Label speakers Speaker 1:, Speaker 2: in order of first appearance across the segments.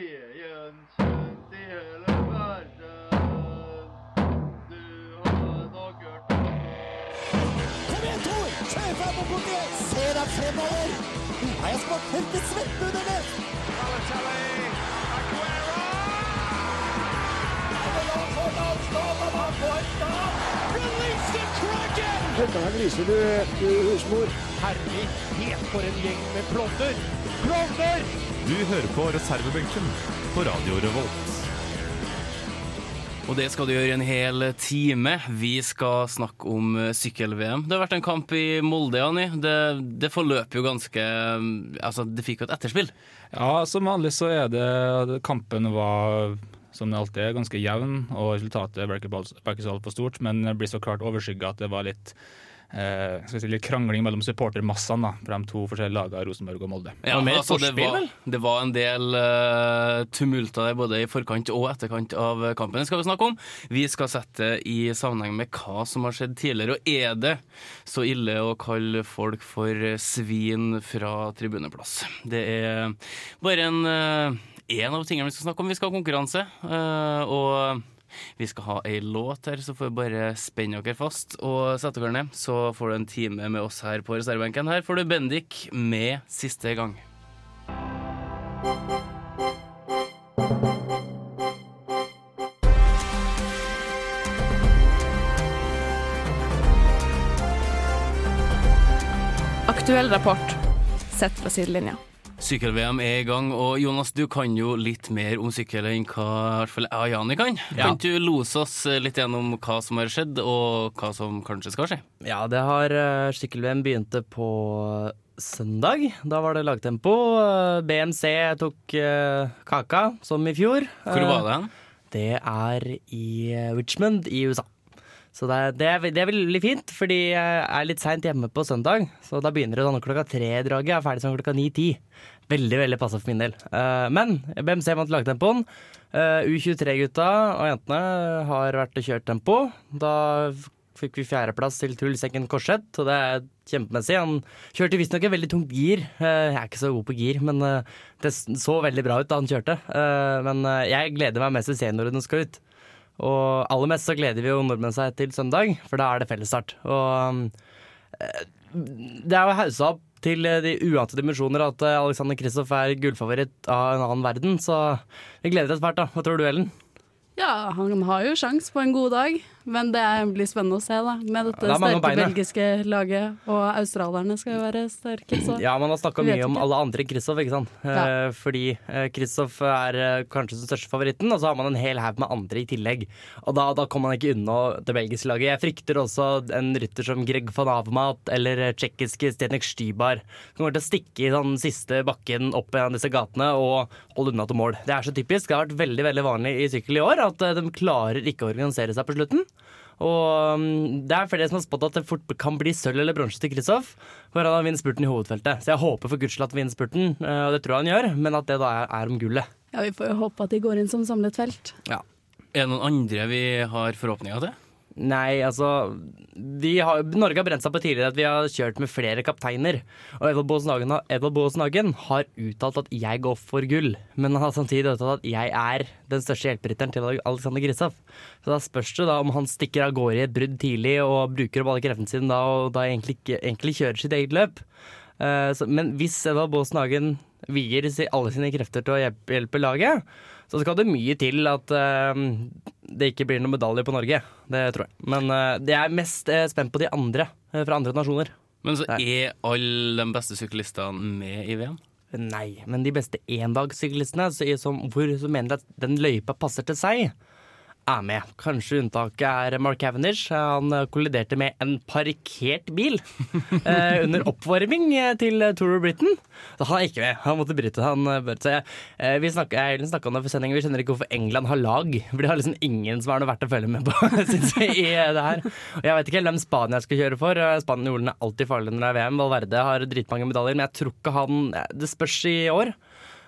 Speaker 1: Veien kjent i hele verden. Du har nok hørt om
Speaker 2: Kom igjen, Tor! Kjør fram og bort igjen! Se deg fremover! Nå er jeg smart helt i svette under det!
Speaker 3: Du hører på reservebenken på Radio Revolt.
Speaker 4: Og det skal du gjøre i en hel time. Vi skal snakke om eh, sykkel-VM. Det har vært en kamp i Molde, Anni. Det, det forløp jo ganske mm, Altså, det fikk jo et etterspill.
Speaker 5: Ja, som vanlig så er det Kampen var, som det alltid er, ganske jevn, og resultatet ble ikke på- ble ikke så altfor stort, men det blir så klart overskygga at det var litt Eh, skal vi si litt krangling mellom supportermassene da, for de to forskjellige lagene Rosenborg og Molde.
Speaker 4: Ja, altså,
Speaker 6: mer forspill,
Speaker 4: det, var,
Speaker 6: vel?
Speaker 4: det var en del eh, tumulter der, både i forkant og etterkant av kampen. Det skal vi snakke om. Vi skal sette det i sammenheng med hva som har skjedd tidligere. Og er det så ille å kalle folk for eh, svin fra tribuneplass? Det er bare en eh, en av tingene vi skal snakke om. Vi skal ha konkurranse. eh, og vi skal ha ei låt her, så får vi bare spenne dere fast og sette dere ned. Så får du en time med oss her på reservebenken. Her får du Bendik med 'Siste gang'.
Speaker 7: Aktuell rapport sett fra sidelinja.
Speaker 4: Sykkel-VM er i gang, og Jonas, du kan jo litt mer om sykkel enn hva i hvert fall jeg og Jani kan. Kan du lose oss litt gjennom hva som har skjedd, og hva som kanskje skal skje?
Speaker 6: Ja, det har eh, Sykkel-VM begynte på eh, søndag. Da var det lagtempo. Eh, BMC tok eh, kaka, som i fjor.
Speaker 4: Hvor var det hen?
Speaker 6: Det er i eh, Richmond i USA. Så det er, det er, det er veldig fint, fordi jeg er litt seint hjemme på søndag. Så da begynner det sånn klokka tre-draget. Jeg er ferdig sånn klokka ni-ti. Veldig veldig passa for min del. Eh, men BMC vant lagtempoen. Eh, U23-gutta og jentene har vært og kjørt tempo. Da f- fikk vi fjerdeplass til Truls Ekken Korseth, og det er kjempemessig. Han kjørte visstnok et veldig tungt gir. Eh, jeg er ikke så god på gir, men eh, det s- så veldig bra ut da han kjørte. Eh, men eh, jeg gleder meg mest til seniorene skal ut. Og aller mest så gleder vi jo nordmenn seg til søndag, for da er det fellesstart. Og eh, det er jo haussa opp til eh, de uante dimensjoner at eh, Alexander Kristoff er gullfavoritt av en annen verden, så vi gleder oss fælt, da. Hva tror du, Ellen?
Speaker 7: Ja, han har jo sjans på en god dag, men det er- blir spennende å se, da. Med dette
Speaker 6: det er mange
Speaker 7: sterke
Speaker 6: bein, ja.
Speaker 7: belgiske laget, og australierne skal jo være sterke, så
Speaker 6: Ja, man har snakka
Speaker 7: Vi Altså, vet
Speaker 6: mye om
Speaker 7: ikke.
Speaker 6: alle andre enn Kristoff, ikke sant. Eh,
Speaker 7: Ja.
Speaker 6: Fordi eh, Kristoff er eh, kanskje den største favoritten, og så har man en hel haug med andre i tillegg. Og da, da kommer man ikke unna det belgiske laget. Jeg frykter også en rytter som Greg van Avmat eller eh, tsjekkiske Stenek Stybar. Som kommer til å stikke i den siste bakken opp i en av disse gatene og holde unna til mål. Det er så typisk. Det har vært veldig veldig vanlig i sykkel i år at eh, de klarer ikke å organisere seg på slutten. Og um, det er flere som har spådd at det fort kan bli sølv eller bronse til Kristoff. For han har vunnet spurten i hovedfeltet. Så jeg håper for guds skyld at han vinner spurten, eh, og det tror jeg han gjør, men at det da er, er om gullet.
Speaker 7: ja, vi får jo håpe at de går inn som samlet felt.
Speaker 4: Er det noen andre vi har forhåpninger til?
Speaker 6: Nei, altså vi har, Norge har brent seg på tidligere at vi har kjørt med flere kapteiner. Og Edvald Boasen Hagen har- Edvald Boasen Hagen har uttalt at 'jeg går for gull', men han har samtidig uttalt at 'jeg er den største hjelperytteren til Alexander Grisaff'. Så da spørs det da om han stikker av gårde i et brudd tidlig og bruker opp alle kreftene sine da, og da egentlig, ikke- egentlig kjører sitt eget løp. Eh, så, men hvis Edvard Boasen Hagen vier si- alle sine krefter til å hjelpe, hjelpe laget, så skal det mye til at eh, det ikke blir noen medalje på Norge. Det tror jeg. Men eh, jeg er mest eh, spent på de andre eh, fra andre nasjoner.
Speaker 4: Men så
Speaker 6: Nei.
Speaker 4: er alle de beste syklistene med i VM?
Speaker 6: Nei, men de beste endagssyklistene så- som, hvor, som mener at den løypa passer til seg, er med. Kanskje unntaket er Mark Cavendish. Han eh, kolliderte med en parkert bil eh, under oppvarming eh, til eh, Tour of Britain. Så han er ikke med. Han måtte bryte. Han eh, bøt seg. Eh, vi snakka jeg snakket om det for sendingen. Vi skjønner ikke hvorfor England har lag. For de har liksom ingen som er noe verdt å følge med på, synes jeg, i eh, det her. Og jeg vet ikke helt hvem Spania skal kjøre for. Eh, Spanjolene er alltid farlige når det er VM. Valverde har dritmange medaljer, men jeg tror ikke han Det spørs eh, i år.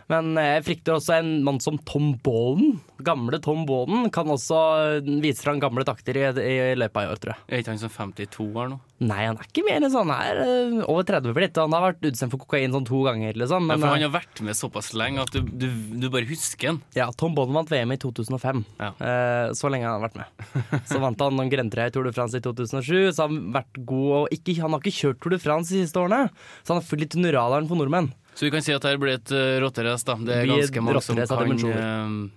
Speaker 6: Men eh, jeg frykter også en mann som Tom Bollen. Gamle Tom Bollen kan også eh, vise fram gamle takter i, i løpet av i år, tror jeg.
Speaker 4: Er ikke han som 52 år nå?
Speaker 6: Nei, han er ikke mer enn sånn her. eh, Over 30 blitt. Han har vært utsendt for kokain sånn to ganger,
Speaker 4: Ja,
Speaker 6: liksom. Men
Speaker 4: for han
Speaker 6: eh,
Speaker 4: har vært med såpass lenge at du, du, du bare husker han.
Speaker 6: ja, Tom Bollen vant VM i 2005.
Speaker 4: Ja.
Speaker 6: Eh, Så lenge han har vært med. Så vant han noen grentre i Tour de France i 2007, så han har vært god og ikke, Han har ikke kjørt Tour de France de siste årene, så han har flydd litt under radaren for nordmenn.
Speaker 4: Så vi kan si at her blir et uh, rotterace, da. Det er
Speaker 6: Blir
Speaker 4: ganske mange som
Speaker 6: rotterace av
Speaker 4: kan,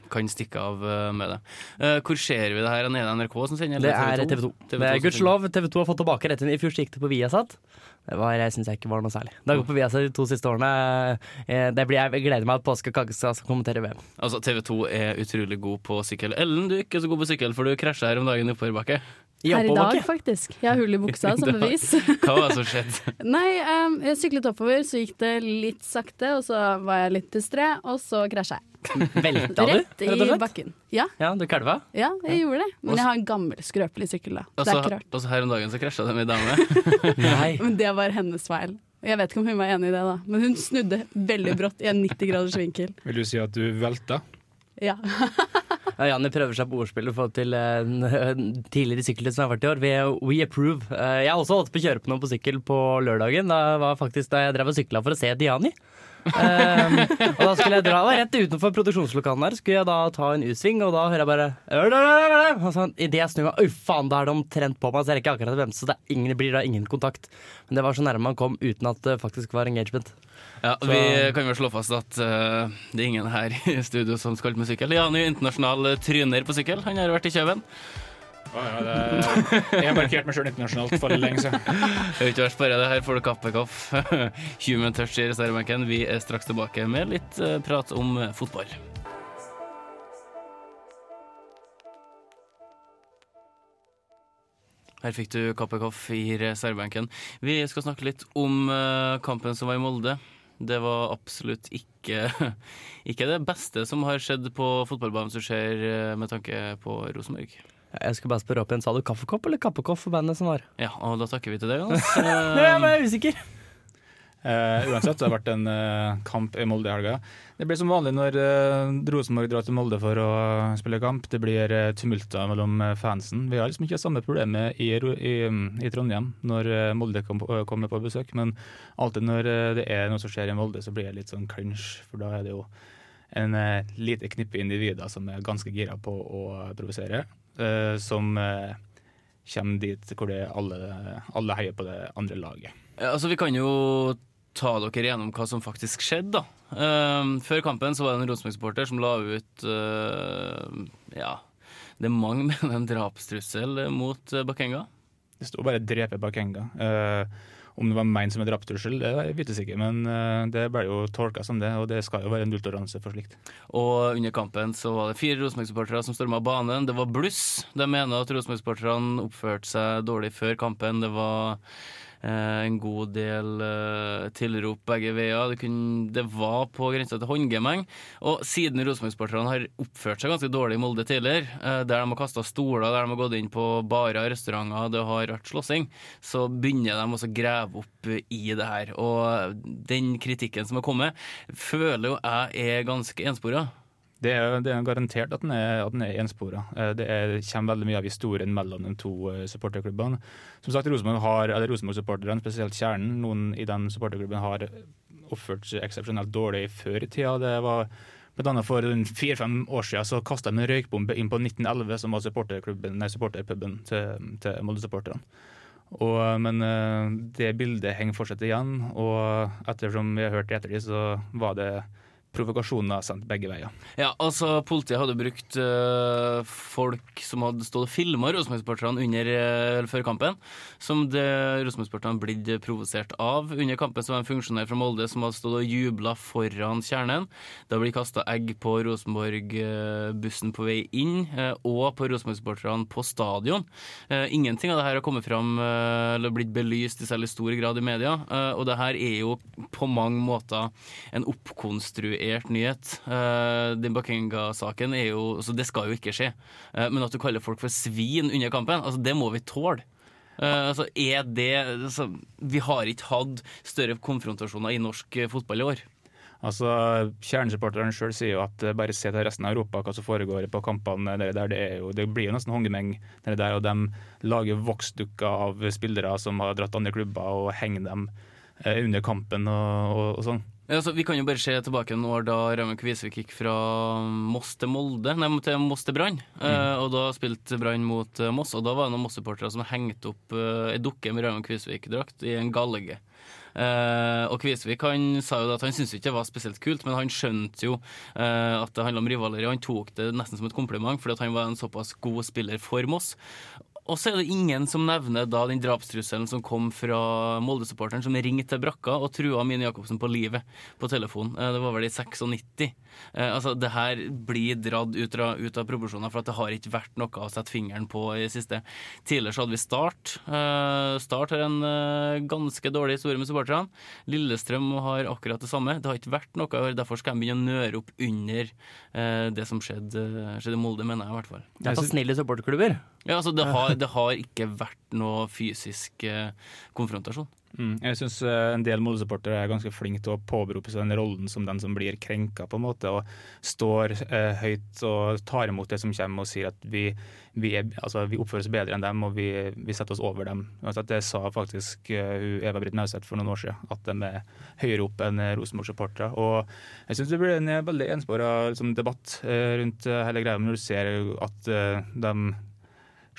Speaker 4: eh, kan stikke av eh, med det. Eh, hvor ser vi det her? Er det NRK som sender?
Speaker 6: Det
Speaker 4: eller
Speaker 6: er TV 2.
Speaker 4: TV2
Speaker 6: Det er
Speaker 4: som sender.
Speaker 6: gudskjelov. TV 2 har fått tilbake retten. I fjor så gikk det på Viasat. Det var, jeg syns jeg ikke var noe særlig. Det har gått på Viasat de to siste årene. Eh, Det blir, jeg gleder meg at Påske Kakestad skal kommentere VM.
Speaker 4: Altså, TV 2 er utrolig god på sykkel. Ellen, du er ikke så god på sykkel, for du krasja her om dagen i oppoverbakke.
Speaker 6: I
Speaker 7: Her i dag,
Speaker 6: oppoverbakke.
Speaker 7: faktisk. Jeg har hull i buksa, som
Speaker 4: Det var-
Speaker 7: bevis.
Speaker 4: Hva var det som skjedde?
Speaker 7: Nei, em, jeg syklet oppover, så gikk det litt sakte, og så var jeg litt distré, og så krasja jeg.
Speaker 6: Velta du,
Speaker 7: Rett
Speaker 6: rett og
Speaker 7: i
Speaker 6: slett?
Speaker 7: bakken. Ja,
Speaker 6: Ja, du kalva?
Speaker 7: ja, jeg gjorde det. Men jeg har en gammel, skrøpelig sykkel, da.
Speaker 4: Og
Speaker 7: Det er ikke
Speaker 4: så-
Speaker 7: rart.
Speaker 4: og så Altså, her om dagen så krasja de med ei dame.
Speaker 6: Nei.
Speaker 7: Men det var hennes feil. Og Jeg vet ikke om hun var enig i det, da, men hun snudde veldig brått i en 90 graders vinkel.
Speaker 5: Vil du si at du velta?
Speaker 7: Ja.
Speaker 6: Ja, Janni prøver seg på ordspillet for til eh, en en tidligere sykkelritt som jeg har vært i år. Vi- We approve. Eh, Jeg har også holdt på å kjøre på noen på sykkel på lørdagen. Da var faktisk da jeg drev og sykla for å se Diani. Um, og da skulle jeg dra da, rett utenfor produksjonslokalene her, skulle jeg da ta en U-sving, og da hører jeg bare «Øl, øl, øl, øl, øl!» Og sånn, Idet jeg snur meg, oi faen, da er det omtrent på meg, så jeg rekker akkurat å bremse. så Det, er ingen, det blir da ingen kontakt. Men det var så nærme man kom uten at det faktisk var engagement.
Speaker 4: Ja, Vi kan vel slå fast at eh, det er ingen her i studio som skal med sykkel. Jan er jo internasjonal tryner på sykkel. Han har vært i Kjøben.
Speaker 5: jeg har markert meg sjøl internasjonalt for lenge siden.
Speaker 4: Det er ikke verst, bare det her får du kappekoff. Human touch i reservebenken. Vi er straks tilbake med litt eh, prat om eh, fotball. Her fikk du kappekoff i reservebenken. Vi skal snakke litt om eh, kampen som var i Molde. Det var absolutt ikke, ikke det beste som har skjedd på fotballbanen som skjer eh, med tanke på Rosenborg.
Speaker 6: Jeg skulle bare spørre opp igjen, sa du kaffekopp eller kappekopp for bandet som var?
Speaker 4: Ja, og da takker vi til deg, Jonas.
Speaker 6: Nei, jeg er usikker.
Speaker 5: Eh, uansett, det har vært en eh, kamp i Molde i helga. Det blir som vanlig når eh, Rosenborg drar til Molde for å spille kamp. Det blir eh, tumulter mellom eh, fansen. Vi har liksom ikke samme problemet i, Ro- i, mm, i Trondheim når eh, Molde kom, på- kommer på besøk, men alltid når eh, det er noe som skjer i Molde, så blir det litt sånn clinch, for da er det jo en eh, lite knippe individer som er ganske gira på å provosere, eh, som eh, kommer dit hvor det er alle, alle heier på det andre laget.
Speaker 4: Ja, Altså, vi kan jo ta dere gjennom hva som faktisk skjedde, da. Ehm, før kampen så var det en Rosenborg-supporter som la ut eh, Ja, det er mange mener en drapstrussel mot eh, Bakenga.
Speaker 5: Det sto bare 'drepe Bakenga'. Eh, om det var meint som en drapstrussel, det er jeg vites ikke, men eh, det ble jo tolka som det, og det skal jo være nulltoleranse for slikt.
Speaker 4: Og under kampen så var det fire Rosenborg-supportere som storma banen. Det var bluss. De mener at Rosenborg-supporterne oppførte seg dårlig før kampen. Det var eh, en god del eh, tilrop begge veier. Det, kunne, det var på grensa til håndgemeng. Og siden Rosenborg-supporterne har oppført seg ganske dårlig i Molde tidligere, eh, der de har kasta stoler, der de har gått inn på barer, restauranter, det har vært slåssing, så begynner de også å grave opp eh, i det her. Og eh, den kritikken som har kommet, føler jo jeg er ganske enspora.
Speaker 5: Det er, det er garantert at den er, at den er enspora. Eh, Det er, det kommer veldig mye av historien mellom de to eh, supporterklubbene. Som sagt, Rosenborg har, eller Rosenborg-supporterne, spesielt kjernen, noen i den supporterklubben har oppført seg eksepsjonelt dårlig før i tida. Det var blant annet for en fire-fem år siden så kasta de en røykbombe inn på 1911, som var supporterklubben, nei, supporterpuben til, til Molde-supporterne. Og, men eh, det bildet henger fortsatt igjen, og ettersom vi har hørt i ettertid, så var det provokasjoner sendt begge veier.
Speaker 4: Ja, altså Politiet hadde brukt øh, folk som hadde stått og filma Rosenborg-supporterne under øh, eller før kampen, som det- Rosenborg-supporterne blitt provosert av. Under kampen så var det en funksjonær fra Molde som hadde stått og jubla foran kjernen. Det ble kasta egg på Rosenborg-bussen på vei inn, øh, og på Rosenborg-supporterne på stadion. Eh, Ingenting av det her har kommet fram øh, eller blitt belyst i særlig stor grad i media, eh, og det her er jo på mange måter en oppkonstruert nyhet. Eh, Den Bakenga-saken er jo altså Det skal jo ikke skje. Eh, Men at du kaller folk for svin under kampen, altså det må vi tåle. Eh, altså er det altså, Vi har ikke hatt større konfrontasjoner i norsk eh, fotball i år.
Speaker 5: Altså, Kjernesupporteren sjøl sier jo at eh, bare se til resten av Europa hva som foregår på kampene der. der det, er jo, det blir jo nesten hongemeng der, der, og de lager voksdukker av spillere som har dratt andre klubber og henger dem eh, under kampen og, og, og sånn.
Speaker 4: Ja, altså, vi kan jo bare se tilbake noen år da Ramen Kvisvik gikk fra Moss til Molde, nei, til Moss til Brann. Eh, og da spilte Brann mot eh, Moss, og da var det noen Moss-supportere som hengte opp eh, ei dukke med Ramen Kvisvik-drakt i en galge. Eh, og Kvisvik han sa jo da at han syntes ikke det var spesielt kult, men han skjønte jo eh, at det handla om rivaleri. Han tok det nesten som et kompliment, fordi at han var en såpass god spiller for Moss. Og så er det ingen som nevner da den drapstrusselen som kom fra Molde-supporteren som ringte til brakka og trua Mine Jacobsen på livet på telefon. Eh, Det var vel i 96. Eh, Altså, det her blir dratt ut av, ut av proporsjoner, for at det har ikke vært noe å sette fingeren på i det siste. Tidligere så hadde vi Start. Eh, Start har en eh, ganske dårlig historie med supporterne. Lillestrøm har akkurat det samme. Det har ikke vært noe, og derfor skal jeg begynne å nøre opp under eh, det som skjedde, skjedde i Molde, mener jeg i hvert fall.
Speaker 6: Det er så snille supporterklubber.
Speaker 4: Ja, altså det har, det har ikke vært noe fysisk eh, konfrontasjon.
Speaker 5: Mm. Jeg syns en del Molde-supportere er ganske flinke til å påberope seg den rollen som den som blir krenka, på en måte, og står eh, høyt og tar imot det som kommer og sier at vi, vi, er, altså, vi oppfører oss bedre enn dem og vi, vi setter oss over dem. Altså, det sa faktisk eh, hun Eva Britt Nauseth for noen år siden, at de er høyere opp enn eh, Rosenborg-supportere. Og jeg syns det blir en eh, veldig enspora liksom, debatt eh, rundt eh, hele greia når du ser at eh, de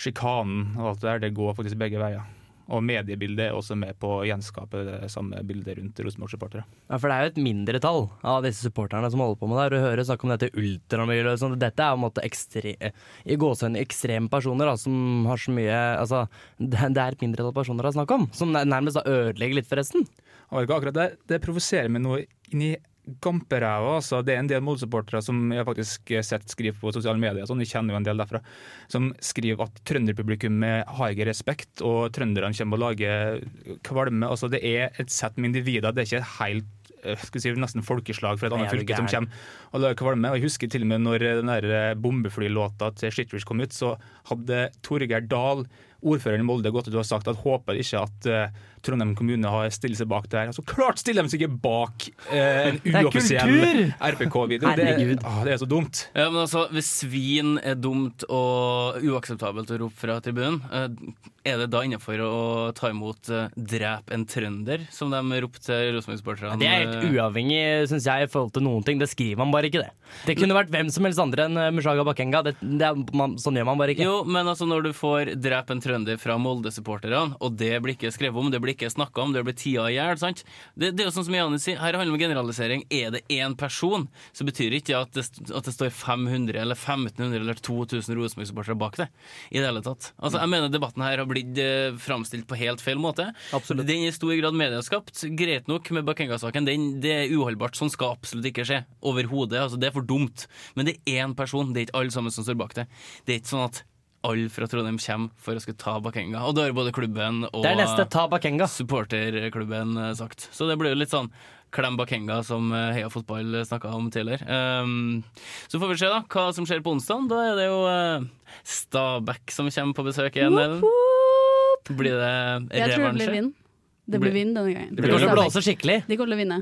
Speaker 5: sjikanen og alt det der, det går faktisk begge veier. Og mediebildet er også med på å gjenskape det samme bildet rundt Rosenborg-supportere.
Speaker 6: Ja, for det er jo et mindretall av disse supporterne som holder på med det her. Du hører snakk om dette ultramiljøet og sånn. Dette er på en måte ekstre, i gåsehud ekstreme personer da, som har så mye Altså, det, det er et mindretall personer det er snakk om, som nær- nærmest da ødelegger litt, forresten.
Speaker 5: Og ikke akkurat det, det provoserer meg noe inn i gamperæva. Altså. Det er en del Molde-supportere som jeg faktisk har sett skriver på sosiale medier, og sånn, jeg kjenner jo en del derfra, som skriver at trønderpublikummet har ikke respekt, og trønderne kommer og lager kvalme. Altså, det er et sett med individer, det er ikke helt eh, skal vi si, nesten folkeslag fra et annet
Speaker 6: Nei, er du
Speaker 5: fylke som
Speaker 6: gæren?
Speaker 5: kommer og lager kvalme. Og jeg husker til og med når den der bombeflylåta til Shitridge kom ut, så hadde Torgeir Dahl, ordføreren i Molde, gått ut og sagt at håper ikke at eh, Trondheim kommune har stiller seg bak det her. Altså, klart stiller de seg ikke bak eh, en
Speaker 6: er
Speaker 5: uoffisiell RPK-video! Det,
Speaker 6: Herregud.
Speaker 5: ah, det er så dumt.
Speaker 4: Ja, men altså, Hvis svin er dumt og uakseptabelt å rope fra tribunen, eh, er det da innafor å ta imot eh, 'drep en trønder', som de ropte eh, til Rosenborg-sporterne?
Speaker 6: Det er helt uavhengig, syns jeg, i forhold til noen ting. Det skriver man bare ikke, det. Det kunne vært hvem som helst andre enn eh, Mushaga Bakenga. Det, det er, man, sånn gjør man bare ikke.
Speaker 4: Jo, men altså når du får 'drep en trønder' fra Molde-supporterne, og det blir ikke skrevet om, det blir ikke snakka om, det blir tida i hjel, sant? Det, det er jo sånn som Janne sier, her handler det om generalisering. Er det én person, så betyr det ikke at det, st- at det står 500 eller 1500 eller 2000 Rosenborg-supportere bak det. I det hele tatt. Altså,
Speaker 6: Mm.
Speaker 4: jeg mener debatten her har blitt eh, framstilt på helt feil måte.
Speaker 6: Absolutt.
Speaker 4: Den er i stor grad medieskapt. Greit nok med Bakenga-saken, den- det er uholdbart. Sånn skal absolutt ikke skje. Overhodet. Altså, det er for dumt. Men det er én person, det er ikke alle sammen som står bak det. Det er ikke sånn at alle fra Trondheim kommer for å skulle ta Bakenga. Og det har både klubben og
Speaker 6: Det er neste. Ta Bakenga.
Speaker 4: supporterklubben eh, sagt. Så det blir jo litt sånn Klem Bakenga, som eh, Heia Fotball snakka om tidligere. Ehm, så får vi se da, hva som skjer på onsdag. Da er det jo eh, Stabæk som kommer på besøk igjen. Ellen.
Speaker 7: Woop!
Speaker 4: Blir det
Speaker 7: Jeg tror det blir
Speaker 4: revansje?
Speaker 7: vinn. Det blir vinn denne gangen.
Speaker 6: Det kommer til å blåse skikkelig.
Speaker 7: De kommer til å vinne.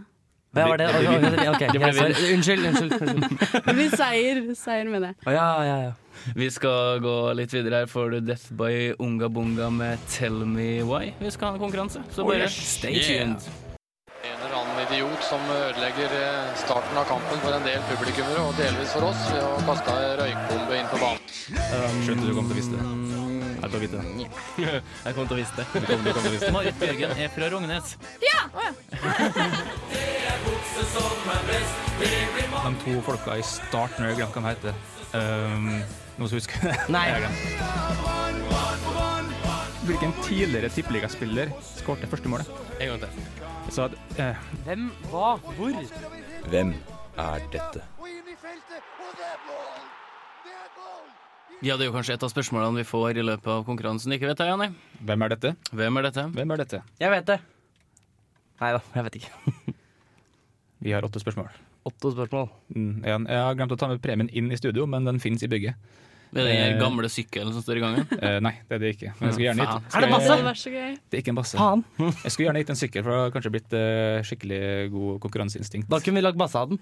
Speaker 6: Hva var det?
Speaker 5: Det blir
Speaker 6: Ok, ok,
Speaker 4: blir
Speaker 6: sorry. Unnskyld, unnskyld. unnskyld.
Speaker 7: Det blir seier. Seier med det.
Speaker 6: Å, ja, ja, ja.
Speaker 4: Vi skal gå litt videre her. Får du Death by Unga Bunga med Tell Me Why? Vi skal ha en konkurranse, så bare stay tuned.
Speaker 8: En eller annen idiot som ødelegger eh, starten av kampen for en del publikummere, og delvis for oss, ved å kaste ei røykbombe inn på banen.
Speaker 5: Skjønte du kom til å vise det. Jeg tar vite det.
Speaker 4: Mm, Jeg kom til å vise det. Marit Bjørgen er fra Rognes.
Speaker 5: De to folka i starten, når jeg har glemt hva de heter. Um, noen som husker det?
Speaker 6: Nei.
Speaker 5: Jeg har glemt. Hvilken tidligere tippeligaspiller skåret det første målet?
Speaker 4: En gang til.
Speaker 5: Så at, eh,
Speaker 6: Hvem, hva, hvor?
Speaker 9: Hvem er dette?
Speaker 4: Ja, det er jo kanskje et av spørsmålene vi får i løpet av konkurransen. Ikke vet jeg, Janni.
Speaker 5: hvem er dette?
Speaker 4: Hvem er dette?
Speaker 5: Hvem er dette?
Speaker 6: Jeg vet det. Nei da, jeg vet ikke.
Speaker 5: Vi har åtte spørsmål.
Speaker 6: Åtte spørsmål.
Speaker 5: Mm, en. Jeg har glemt å ta med premien inn i studio, men den finnes i bygget.
Speaker 4: Med
Speaker 5: Eh.
Speaker 4: den gamle sykkelen som står i gangen.
Speaker 5: Eh, nei, det er det ikke. Men jeg skulle gjerne gitt
Speaker 4: Faen.
Speaker 6: Er det
Speaker 7: Altså, Det
Speaker 6: masse?
Speaker 7: var så gøy.
Speaker 5: Det er ikke en basse.
Speaker 6: Faen!
Speaker 5: Jeg skulle gjerne gitt en sykkel, for det har kanskje blitt eh, skikkelig god konkurranseinstinkt.
Speaker 6: Da kunne vi lagd masse av den.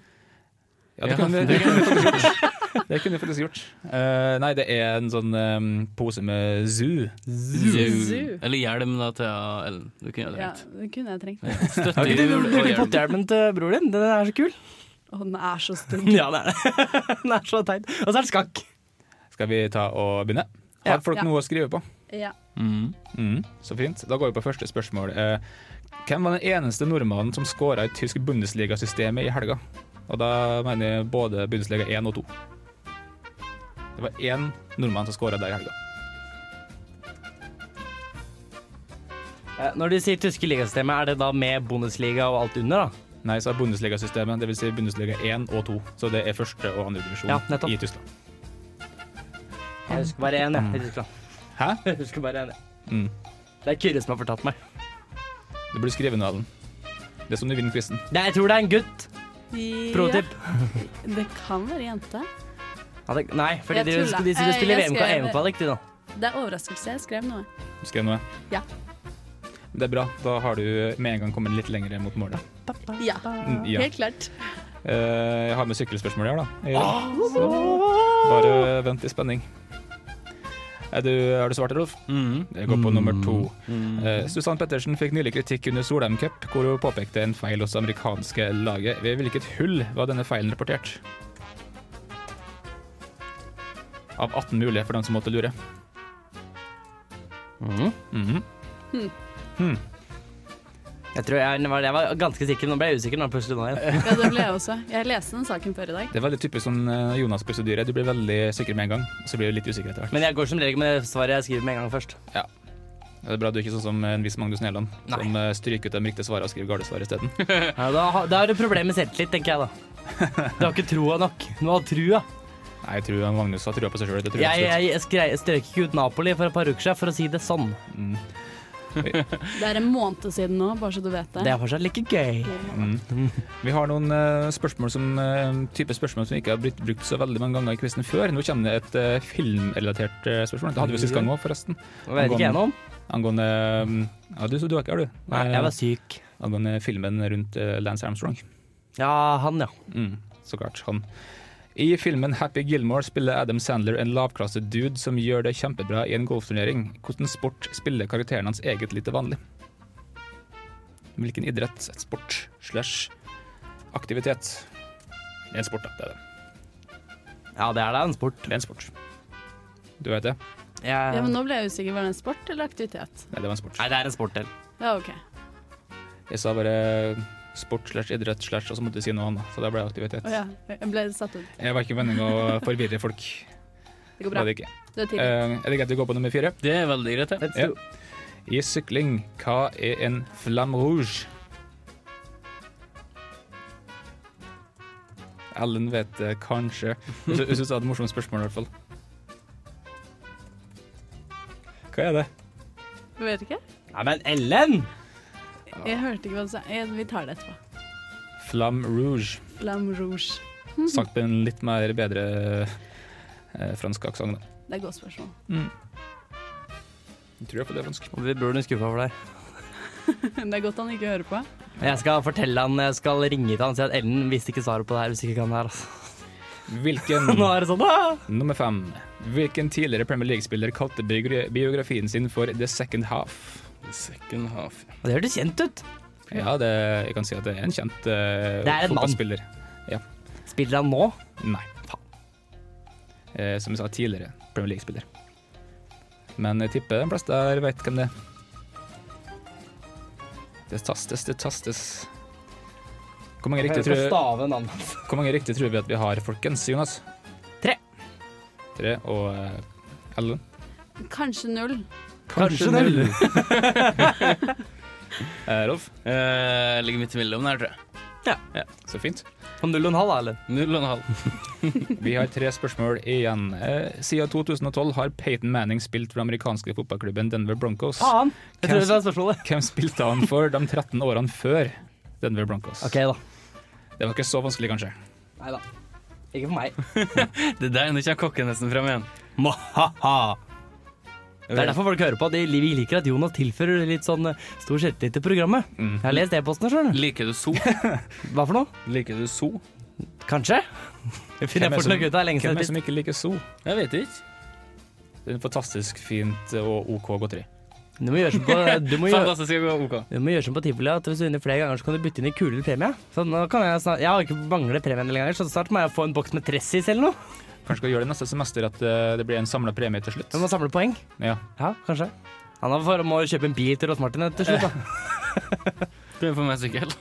Speaker 5: Ja, det kunne det kunne vi faktisk gjort. Det kunne vi faktisk gjort. Eh, nei, det er en sånn eh, pose med zoo.
Speaker 4: Zoo. Eller hjelm da til Ellen. Du kunne gjøre det
Speaker 7: Ja,
Speaker 4: rett.
Speaker 7: det kunne jeg trengt.
Speaker 6: Har ikke
Speaker 4: Støttehjul
Speaker 6: du
Speaker 4: og
Speaker 6: brukt
Speaker 4: hjelm.
Speaker 6: pottehjelmen til bror din? Den er så kul.
Speaker 7: Å, den er så stor.
Speaker 6: Ja, det er det. Den er så teit. Og så er det skakk.
Speaker 5: Skal vi ta og begynne?
Speaker 6: Ja,
Speaker 5: Har folk
Speaker 7: ja.
Speaker 5: noe å skrive på?
Speaker 7: Ja.
Speaker 4: Mm.
Speaker 5: Mm, så fint. Da går vi på første spørsmål. Eh, hvem var den eneste nordmannen som skåra i tysk Bundesliga-systemet i helga? Og da mener jeg både Bundesliga 1 og 2. Det var én nordmann som skåra der i helga.
Speaker 6: Eh, Når de sier tyske ligasystemet, er det da med Bundesliga og alt under, da?
Speaker 5: Nei, så er Bundesliga-systemet, dvs. Si Bundesliga 1 og 2. Så det er første og andre divisjon
Speaker 6: Ja, nettopp.
Speaker 5: i Tyskland.
Speaker 6: Jeg husker bare én, jeg. i Tyskland.
Speaker 5: Hæ?
Speaker 6: Jeg husker bare én, jeg.
Speaker 5: Mm.
Speaker 6: Det er Kyrre som har fortalt meg.
Speaker 5: Det blir skrevet noe av den. Det er sånn som du vinner quizen.
Speaker 6: Nei, jeg tror det er en gutt. Pro tip.
Speaker 7: Ja, det kan være jente.
Speaker 6: Ja, det, nei, fordi
Speaker 7: Jeg
Speaker 6: de,
Speaker 7: tuller.
Speaker 6: de skulle
Speaker 7: Eh,
Speaker 6: spille
Speaker 7: jeg
Speaker 6: VM-
Speaker 7: skrev-
Speaker 6: VM-kvalik, de nå.
Speaker 7: Det er overraskelse. Jeg skrev noe.
Speaker 5: Du skrev noe?
Speaker 7: Ja.
Speaker 5: Det er bra. Da har du med en gang kommet litt lenger mot målet.
Speaker 7: Ja,
Speaker 5: Mm, ja.
Speaker 7: helt klart.
Speaker 5: Eh, jeg har med sykkelspørsmål her, da. Jeg- Så bare vent i spenning. Er du, har du svart, Rolf?
Speaker 4: Mm.
Speaker 5: Jeg går på nummer to.
Speaker 4: Mm.
Speaker 5: Eh, Susann Pettersen fikk nylig kritikk under Solheim Cup, hvor hun påpekte en feil hos det amerikanske laget. Ved hvilket hull var denne feilen rapportert? Av 18 mulige for dem som måtte lure.
Speaker 4: Mm.
Speaker 5: Mhm.
Speaker 6: Jeg tror jeg, var- jeg var ganske sikker, men nå ble jeg usikker. Nå, plutselig nå igjen.
Speaker 7: Ja, det ble jeg også. Jeg leste den saken før i dag.
Speaker 5: Det er veldig typisk sånn eh, Jonas-prosedyre. Du blir veldig sikker med en gang, så blir du litt usikker etter hvert.
Speaker 6: Men jeg går som regel med det svaret jeg skriver med en gang først.
Speaker 5: Det er bra du er ikke sånn som en viss Magnus Næland, som eh, stryker ut de riktige svarene og skriver gale svar isteden.
Speaker 6: Ja, da, ha- da er det problem med selvtillit, tenker jeg da. Du har ikke troa nok. Du må ha trua.
Speaker 5: Nei, jeg tror han Magnus har trua på seg sjøl. Det tror
Speaker 6: Jeg,
Speaker 5: jeg absolutt.
Speaker 6: jeg, jeg skrei- strøk ikke ut Napoli for et par uker siden, for å si det sånn.
Speaker 5: Mm.
Speaker 7: Det er en måned siden nå, bare så du vet
Speaker 6: Det
Speaker 7: det.
Speaker 6: er fortsatt like gøy.
Speaker 5: Mm. Vi har noen eh, spørsmål som, eh, type spørsmål som ikke har blitt brukt så veldig mange ganger i quizen før. Nå kommer det et eh, filmrelatert eh, spørsmål. Det hadde vi sist
Speaker 6: Mm.
Speaker 5: gang òg, forresten.
Speaker 6: Det vet ikke jeg noe om.
Speaker 5: Angående eh, Ja, du, så du har ikke her, du?
Speaker 6: Nei, jeg
Speaker 5: Eh,
Speaker 6: var syk.
Speaker 5: Angående filmen rundt eh, Lance Armstrong.
Speaker 6: Ja, han, ja.
Speaker 5: Mm, så klart. Han. I filmen Happy Gilmore spiller Adam Sandler en lavklasse dude som gjør det kjempebra i en golfturnering. Hvordan sport spiller karakteren hans eget litt til vanlig? Hvilken idrett, sport slash aktivitet? Det er en sport, da. Det er, det.
Speaker 6: Ja, det er da en sport.
Speaker 5: Det er en sport. Du vet det?
Speaker 6: Jeg,
Speaker 7: Ja, men nå ble jeg usikker. Var det en sport eller aktivitet?
Speaker 5: Nei, det var en sport.
Speaker 6: Nei, det er en sport, del.
Speaker 7: Ja, OK.
Speaker 5: Jeg sa bare sport slash idrett slash, og så måtte jeg si noe annet. Så det ble aktivitet.
Speaker 7: Å ja. Jeg ble satt ut.
Speaker 5: Jeg var ikke meningen å forvirre folk.
Speaker 7: Det går
Speaker 5: Det
Speaker 7: bra.
Speaker 5: var det ikke.
Speaker 7: Du er
Speaker 5: Eh,
Speaker 7: tidlig.
Speaker 5: er det greit vi går på nummer fire?
Speaker 4: Det er veldig greit, det.
Speaker 5: Ja. I sykling, hva er en flamme rouge? Ellen vet det kanskje. Jeg sy- jeg syns det var et morsomt spørsmål, i hvert fall. Hva er det?
Speaker 7: Du vet ikke?
Speaker 6: Nei, men Ellen!
Speaker 7: Jeg hørte ikke hva du sa. Jeg- Vi tar det etterpå.
Speaker 5: Flamme rouge.
Speaker 7: Flam rouge.
Speaker 6: Hmm.
Speaker 5: Sagt på en litt mer bedre eh, fransk aksent. da.
Speaker 7: Det er et godt spørsmål.
Speaker 5: Jeg tror jeg får det er fransk.
Speaker 6: Vi burde bli skuffa for deg.
Speaker 7: Det er godt han ikke hører på.
Speaker 6: Jeg skal fortelle han, jeg skal ringe til han og si at Ellen visste ikke svaret på det her. hvis ikke kan det her, altså. Nå
Speaker 5: Hvilken
Speaker 6: er det sånn, ah!
Speaker 5: Nummer fem. Hvilken tidligere Premier League-spiller kalte biogra- biografien sin for The Second Half?
Speaker 4: Second half.
Speaker 6: Og Det hørtes kjent ut.
Speaker 5: Ja, det, jeg kan si at det er en kjent eh,
Speaker 6: Det er en mann.
Speaker 5: fotballspiller.
Speaker 6: Spiller han nå?
Speaker 5: Nei, faen. Eh, som jeg sa tidligere, Premier League-spiller. Men jeg tipper de fleste her vet hvem det er. Det tastes, det tastes. Hvor mange, riktige
Speaker 6: Jeg skal
Speaker 5: tror,
Speaker 6: stave navnet hans.
Speaker 5: hvor mange riktige tror vi at vi har, folkens, Jonas?
Speaker 6: Tre.
Speaker 5: Tre og eh, Ellen?
Speaker 7: Kanskje null.
Speaker 6: Kanskje
Speaker 5: null. eh, Rolf,
Speaker 4: Eh, ligger midt imellom der, tror jeg.
Speaker 5: så fint.
Speaker 6: På null og en halv, da, Ellen.
Speaker 4: Null og en halv.
Speaker 5: Vi har tre spørsmål igjen. Eh, siden 2012 har Peyton Manning spilt for den amerikanske fotballklubben Denver Broncos.
Speaker 6: Faen! Jeg trodde
Speaker 5: Hvem-
Speaker 6: det var spørsmålet.
Speaker 5: Hvem spilte han for de 13 årene før Denver Broncos?
Speaker 6: OK, da.
Speaker 5: Det var ikke så vanskelig, kanskje.
Speaker 6: Nei da. Ikke for meg.
Speaker 4: Det der, nå kommer kokkenesen fram igjen. Mahaha.
Speaker 6: Det er derfor folk hører på. De vi liker at Jonas tilfører litt sånn eh, stor selvtillit til programmet.
Speaker 5: Mm.
Speaker 6: Jeg har lest e-postene sjøl.
Speaker 4: Liker du so?
Speaker 6: Hva for noe?
Speaker 5: Liker du so?
Speaker 6: Kanskje? Det
Speaker 5: Hvem
Speaker 6: finner
Speaker 5: er
Speaker 6: jeg fort
Speaker 5: som-
Speaker 6: nok ut av. Lenge
Speaker 5: Hvem er det
Speaker 6: siden.
Speaker 5: som ikke liker so?
Speaker 4: Jeg vet ikke.
Speaker 5: Det er en fantastisk fint og OK godteri.
Speaker 6: Du må gjøre som på, du må gjøre,
Speaker 4: Fantastisk jeg går ok.
Speaker 6: du må gjøre som på tivoli, at hvis du vinner flere ganger, så kan du bytte inn i kulere premie. Så nå kan jeg snart Jeg har ikke manglet premien en del ganger, så snart må jeg få en boks med tressis eller noe.
Speaker 5: Kanskje skal gjøre det neste semester at eh, det blir en samla premie til slutt.
Speaker 6: Du må samle poeng.
Speaker 5: Ja.
Speaker 6: Ja, kanskje. Han har for, må kjøpe en bil til Ross Martin til slutt, da.
Speaker 4: Prøv å få meg en sykkel.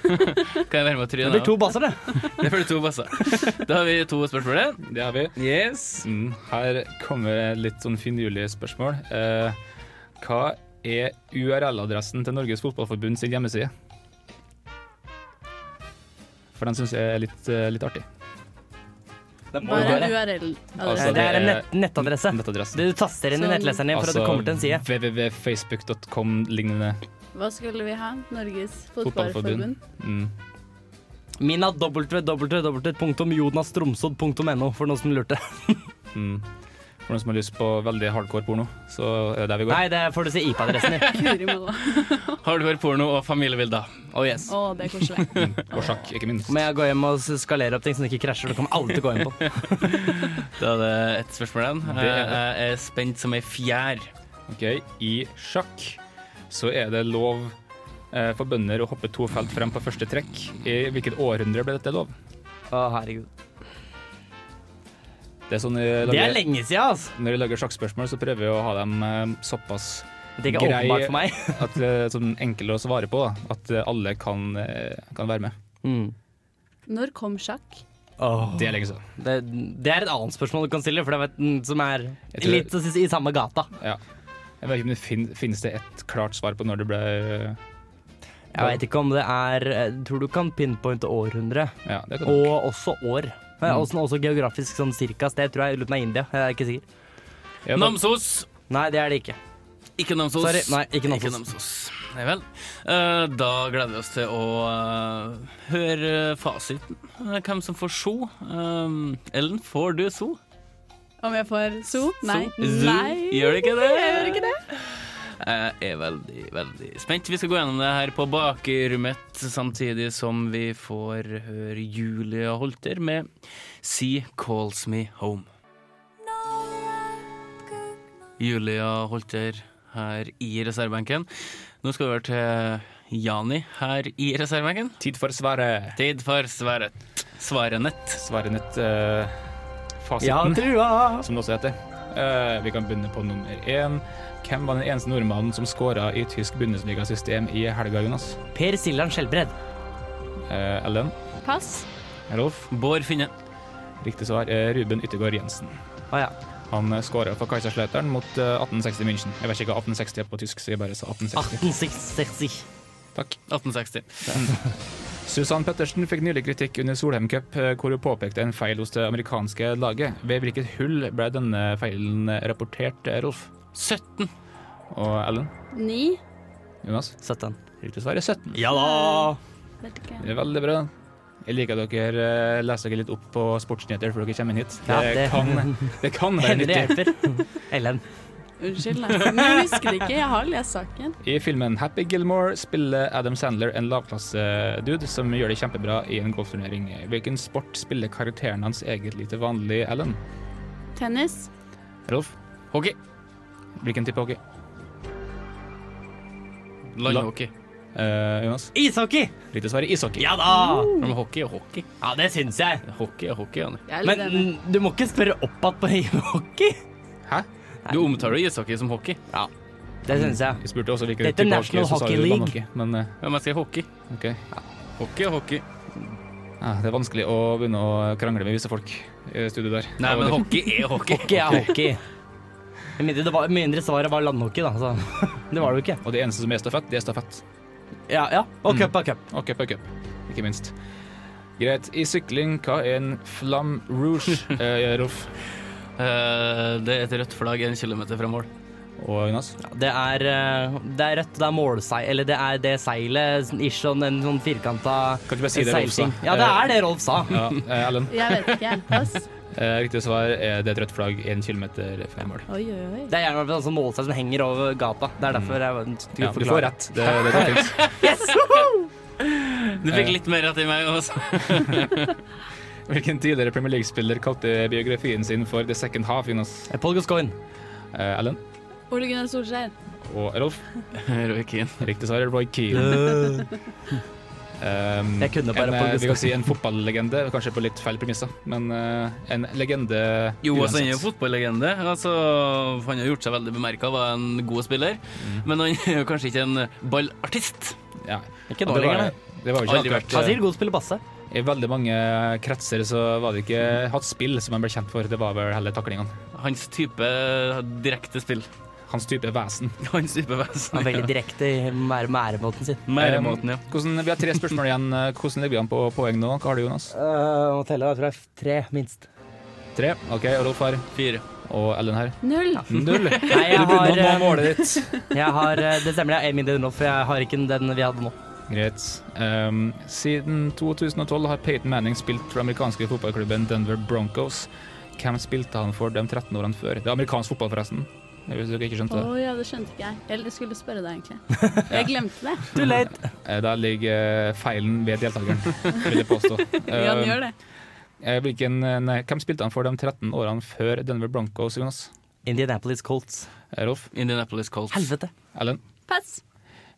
Speaker 4: kan jeg være med og
Speaker 6: Det
Speaker 4: tryne?
Speaker 6: blir to basser, det.
Speaker 4: Det blir to basser. Da har vi to spørsmål igjen.
Speaker 5: Det har vi.
Speaker 4: Yes.
Speaker 5: Mm, her kommer litt sånn finurlige spørsmål. Eh, hva er URL-adressen til Norges Fotballforbund sin hjemmeside? For den syns jeg er litt, eh, litt artig.
Speaker 7: Hva er URL-adresse?
Speaker 5: Altså,
Speaker 6: Det er
Speaker 5: det
Speaker 6: en
Speaker 5: er-
Speaker 6: nett, nettadresse.
Speaker 5: Nettadressen.
Speaker 6: Du taster inn i
Speaker 7: Sånn.
Speaker 6: nettleseren din for
Speaker 5: Altså,
Speaker 6: at du kommer til en side.
Speaker 5: www.facebook.com-lignende.
Speaker 7: Hva skulle vi ha? Norges
Speaker 5: Fotballforbund.
Speaker 7: Fotballforbund?
Speaker 5: Mm.
Speaker 6: Min er www.jonastromsodd.no, for noen som lurte.
Speaker 5: Mm. For noen som har lyst på veldig hardcore porno, så er det der vi går.
Speaker 6: Nei, det får du si IP-adressen din.
Speaker 7: Guri malla.
Speaker 4: Hardcore porno og familiebilder. Oh yes.
Speaker 7: Å, det er koselig.
Speaker 5: Og sjakk, ikke minst.
Speaker 6: Må jeg gå hjem og skalere opp ting så det ikke krasjer. Du kommer alle til å gå inn på.
Speaker 4: Da er det ett spørsmål igjen. Eh,
Speaker 5: Det er det.
Speaker 4: Jeg er spent som ei fjær.
Speaker 5: Ok, I sjakk så er det lov eh, for bønder å hoppe to felt frem på første trekk. I hvilket århundre ble dette lov?
Speaker 6: Å, herregud.
Speaker 5: Det er sånn jeg
Speaker 6: Det er
Speaker 5: lager,
Speaker 6: lenge siden, altså.
Speaker 5: Når jeg lager sjakkspørsmål, så prøver jeg å ha dem eh, såpass
Speaker 6: Det er ikke
Speaker 5: Grei-
Speaker 6: åpenbart for meg.
Speaker 5: at, eh, sånn enkle å svare på, da. at eh, alle kan, eh, kan være med.
Speaker 6: Mm.
Speaker 7: Når kom sjakk?
Speaker 5: Det er lenge siden.
Speaker 6: Det, det er et annet spørsmål du kan stille, for det vet, den som er
Speaker 5: Jeg tror-
Speaker 6: litt i- i samme gata.
Speaker 5: Ja. Jeg vet ikke om det fin finnes det et klart svar på når det ble eh,
Speaker 6: Jeg veit ikke om det er jeg Tror du kan pinpointe århundre,
Speaker 5: Ja, det Mm. kan du.
Speaker 6: og også år. Men Også, også geografisk sånn cirka sted, tror jeg. Uten av India, jeg er ikke sikker.
Speaker 5: Ja, da-
Speaker 4: Namsos.
Speaker 6: Nei, det er det ikke.
Speaker 4: Ikke Namsos.
Speaker 6: Sorry, nei, ikke Namsos.
Speaker 4: Nei vel. Eh, da gleder vi oss til å eh, høre fasiten. Eh, hvem som får so. Eh, Ellen, får du so?
Speaker 7: Om jeg får so? Nei.
Speaker 4: So? Zoo?
Speaker 7: Nei.
Speaker 4: Gjør du ikke det?
Speaker 7: Jeg gjør ikke det.
Speaker 4: Jeg er veldig, veldig spent. Vi skal gå gjennom det her på bakrommet, samtidig som vi får høre Julia Holter med She Calls Me Home. Julia Holter her i reservebenken. Nå skal vi over til Jani her i reservebenken.
Speaker 5: Tid for svaret.
Speaker 4: Tid for svaret. Svarenett.
Speaker 5: Svarenett uh, fasiten.
Speaker 6: Ja, trua!
Speaker 5: som det også heter. Eh, vi kan begynne på nummer én. Hvem var den eneste nordmannen som skåra i tysk Bundesliga-system i helga, Jonas?
Speaker 6: Per Siljan Skjelbred.
Speaker 5: Eh, Ellen?
Speaker 7: Pass.
Speaker 5: Rolf?
Speaker 4: Bård Finne.
Speaker 5: Riktig svar er Ruben Yttergård Jensen.
Speaker 6: Å ja.
Speaker 5: Han skåra for Kaiserslautern mot eh, 1860 München. Jeg vet ikke hva 1860 er på tysk, så jeg bare sa
Speaker 6: Ah.
Speaker 5: 1860.
Speaker 6: 1860.
Speaker 5: Takk.
Speaker 4: 1860.
Speaker 5: Susann Pettersen fikk nylig kritikk under Solheim Cup, eh, hvor hun påpekte en feil hos det amerikanske laget. Ved hvilket hull ble denne feilen rapportert, eh, Rolf?
Speaker 4: 17.
Speaker 5: Og Ellen?
Speaker 7: Ni.
Speaker 5: Jonas?
Speaker 6: 17.
Speaker 5: Riktig svar er 17.
Speaker 6: Ja da!
Speaker 7: Vet ikke.
Speaker 5: Det er veldig bra. Jeg liker at dere eh, leser dere litt opp på sportsnyheter før dere kommer inn hit. Det,
Speaker 6: Ja, det-
Speaker 5: Kan, det kan være
Speaker 6: Henry
Speaker 5: nyttig.
Speaker 6: hjelper. Ellen.
Speaker 7: Unnskyld, nei. Men jeg husker det ikke. Jeg har lest saken.
Speaker 5: I filmen Happy Gilmore spiller Adam Sandler en lavklassedude som gjør det kjempebra i en golfturnering. Hvilken sport spiller karakteren hans egentlig til vanlig, Ellen?
Speaker 7: Tennis.
Speaker 5: Rolf?
Speaker 4: Hockey.
Speaker 5: Hvilken type hockey?
Speaker 4: Landhockey.
Speaker 5: Eh, Jonas?
Speaker 6: Ishockey!
Speaker 5: Riktig svar er ishockey.
Speaker 6: Ja da!
Speaker 4: Men hockey er hockey.
Speaker 6: Ja, det syns jeg.
Speaker 4: Hockey er hockey, Jani.
Speaker 7: Jeg er litt
Speaker 6: Men
Speaker 7: enig.
Speaker 6: mm, du må ikke spørre opp igjen på hockey.
Speaker 5: Hæ?
Speaker 4: Du omtaler jo ishockey som hockey.
Speaker 6: Det syns jeg.
Speaker 5: Jeg spurte også hvilken
Speaker 6: Dette er
Speaker 5: type hockey,
Speaker 6: National
Speaker 5: så sa
Speaker 6: Hockey
Speaker 5: du
Speaker 6: League.
Speaker 5: landhockey. Men eh,
Speaker 4: Men jeg sier hockey.
Speaker 5: OK.
Speaker 4: Hockey er hockey.
Speaker 5: Ja, det er vanskelig å begynne å krangle med visse folk i studioet der.
Speaker 4: Nei, men hockey er hockey.
Speaker 6: Hockey er hockey. Med mindre, det var, med mindre svaret var landhockey, da. Så. Det var det jo ikke. Mm.
Speaker 5: Og det eneste som er stafett, det er stafett.
Speaker 6: Ja, ja. Og cup er cup.
Speaker 5: Og cup er cup, ikke minst. Greit. I sykling, hva er en flam rouge, eh, Rolf
Speaker 4: Eh, det er et rødt flagg en kilometer fra mål.
Speaker 5: og Jonas?
Speaker 6: Ja, Det er, eh, det er rødt, det er målseil... Eller det er det seilet, sånn ish, sånn en sånn firkanta
Speaker 5: Kan ikke bare si det Rolf sa.
Speaker 6: seilting. Ja, det er det Rolf sa.
Speaker 5: Ja, eh, Ellen,
Speaker 7: Jeg vet ikke. Pass.
Speaker 5: Eh, Riktig svar er det er et rødt flagg én kilometer fra mål.
Speaker 7: Oi, oi, oi.
Speaker 6: Det er gjerne en sånn målestokk som henger over gata. Det er derfor jeg skulle
Speaker 5: Mm. Ja, du får
Speaker 6: forklare.
Speaker 5: rett. Det, det er defense.
Speaker 4: Du fikk litt mer rett i meg også.
Speaker 5: Hvilken tidligere Premier League-spiller kalte biografien sin for The Second Half, Jonas?
Speaker 6: Paul Gascoigne.
Speaker 5: Eh, Ellen
Speaker 7: Ole Gunnar Solskjær.
Speaker 5: og Rolf.
Speaker 4: Roy Keane.
Speaker 5: Riktig svar er Roy Keane. Um,
Speaker 6: Jeg kunne
Speaker 5: en,
Speaker 6: bare på
Speaker 5: eh, vi kan si en fotballegende, kanskje på litt feil premisser, men eh, en legende
Speaker 4: Jo, altså, han er jo fotballegende. Altså, han har gjort seg veldig bemerka, var en god spiller. Men han er jo kanskje ikke en ballartist.
Speaker 5: Mm. Ja.
Speaker 6: Ikke
Speaker 5: Og
Speaker 6: nå
Speaker 5: det var,
Speaker 6: lenger, nei.
Speaker 5: det var jo
Speaker 4: Aldri
Speaker 5: ikke
Speaker 4: vært.
Speaker 6: Han
Speaker 5: akkurat
Speaker 6: sier god spiller basse.
Speaker 5: I veldig mange kretser så var det ikke hans spill som han ble kjent for, det var vel heller taklingene.
Speaker 4: Hans type direkte spill.
Speaker 5: Hans type vesen.
Speaker 4: Hans type
Speaker 6: Han er veldig
Speaker 4: vesen.
Speaker 6: direkte i mære- væremåten sin.
Speaker 4: Væremåten, ja.
Speaker 5: Hvordan, vi har tre spørsmål igjen. Hvordan ligger vi an på poeng nå? Hva har du, Jonas?
Speaker 6: Uh, må telle, jeg tror det er tre, minst.
Speaker 5: Tre. OK, Rolf her.
Speaker 4: Fire.
Speaker 5: Og Ellen her.
Speaker 7: Null.
Speaker 5: Null.
Speaker 6: Nei, jeg
Speaker 5: Du begynner å
Speaker 6: har,
Speaker 5: nå
Speaker 6: eh,
Speaker 5: målet ditt.
Speaker 6: jeg har eh, Det stemmer, jeg er min del nå, for jeg har ikke den vi hadde nå.
Speaker 5: Greit. Ehm, siden 2012 har Peyton Manning spilt for den amerikanske fotballklubben Denver Broncos. Hvem spilte han for de 13 årene før? Det er amerikansk fotball, forresten. Hvis dere ikke
Speaker 7: Å
Speaker 5: skjønte det.
Speaker 7: ja, det skjønte ikke jeg. Eller jeg skulle spørre deg, egentlig. Jeg glemte det.
Speaker 6: Too late.
Speaker 5: Eh, Der ligger eh, feilen ved deltakeren, vil jeg påstå.
Speaker 7: Ja, den
Speaker 5: Ehm,
Speaker 7: gjør det.
Speaker 5: eh, Hvilken, eh, nei, hvem spilte han for de 13 årene før Denver Broncos, Jonas?
Speaker 6: Indianapolis Colts.
Speaker 5: Eh, Rolf?
Speaker 4: Indianapolis Colts.
Speaker 6: Helvete.
Speaker 5: Ellen?
Speaker 7: Pass.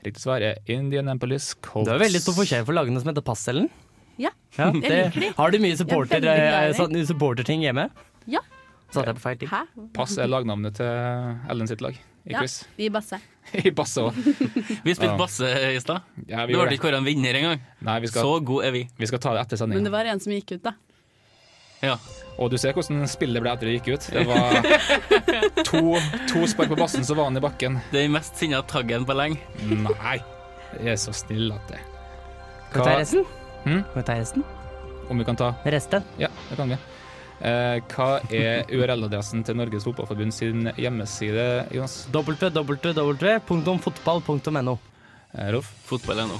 Speaker 5: Riktig svar er Indianapolis Colts.
Speaker 6: Det er veldig stor forskjell for lagene som heter Passelen.
Speaker 7: Ja.
Speaker 6: Ja,
Speaker 7: Jeg
Speaker 6: det,
Speaker 7: liker de.
Speaker 6: har du mye supporter,
Speaker 7: Jeg er veldig glad i
Speaker 6: eh, sånn, supporterting hjemme?
Speaker 7: Ja.
Speaker 6: Satte jeg på feil ting.
Speaker 7: Hæ?
Speaker 5: Pass er lagnavnet til Ellen sitt lag i
Speaker 7: Ja,
Speaker 5: quiz.
Speaker 7: vi basser.
Speaker 5: I basse òg.
Speaker 4: Vi spilte basse i stad.
Speaker 5: Ja,
Speaker 4: Du
Speaker 5: vi gjorde
Speaker 4: hørte
Speaker 5: det.
Speaker 4: ikke hvor han vinner engang.
Speaker 5: Nei, vi skal,
Speaker 4: Så god er vi.
Speaker 5: vi skal ta det etter sendinga.
Speaker 7: Men det var en som gikk ut, da.
Speaker 4: Ja.
Speaker 5: Og du ser hvordan spillet ble etter det gikk ut. Det var to, to spark på bassen, så var han i bakken.
Speaker 4: Den mest sinna taggen på lenge.
Speaker 5: Nei, jeg er så snill at det
Speaker 6: Kan vi ta resten?
Speaker 5: Hm?
Speaker 6: Kan vi ta resten?
Speaker 5: Om vi kan ta
Speaker 6: Resten?
Speaker 5: Ja, det kan vi. Eh, hva er URL-adressen til Norges Fotballforbund sin hjemmeside, Jonas?
Speaker 6: www.fotball.no.
Speaker 5: Eh, Rolf
Speaker 4: Fotball er nå.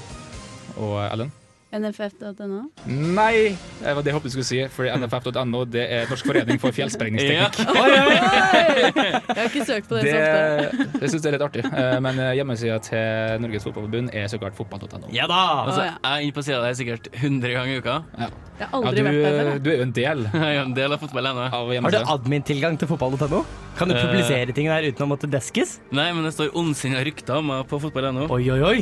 Speaker 5: og Ellen?
Speaker 7: NFF.no.
Speaker 5: Nei! Det var det jeg håpet du skulle si, fordi nff.no det er Norsk forening for
Speaker 4: Ja.
Speaker 5: fjellsprengningsteknikk.
Speaker 7: Jeg har ikke søkt på det,
Speaker 5: Det,
Speaker 7: så ofte.
Speaker 5: det syns jeg er litt artig, eh, men hjemmesida til Norges Fotballforbund er så klart fotball.no.
Speaker 6: Ah, Ja da!
Speaker 4: Altså,
Speaker 7: Å,
Speaker 4: jeg
Speaker 7: ja.
Speaker 4: er inne på sida der sikkert 100 ganger i uka.
Speaker 5: Ja,
Speaker 7: Jeg har aldri
Speaker 5: du, eh,
Speaker 7: vært der før. jeg.
Speaker 5: du er jo en del
Speaker 4: Jeg er en del av fotball ennå.
Speaker 5: av
Speaker 6: Har du
Speaker 5: hjemmesida.
Speaker 6: admin-tilgang til fotball.no? Kan du
Speaker 4: Eh.
Speaker 6: publisere ting der uten å måtte deskes?
Speaker 4: Nei, men det står ondsinna rykter om meg på fotball ennå.
Speaker 6: Oi, oi, oi!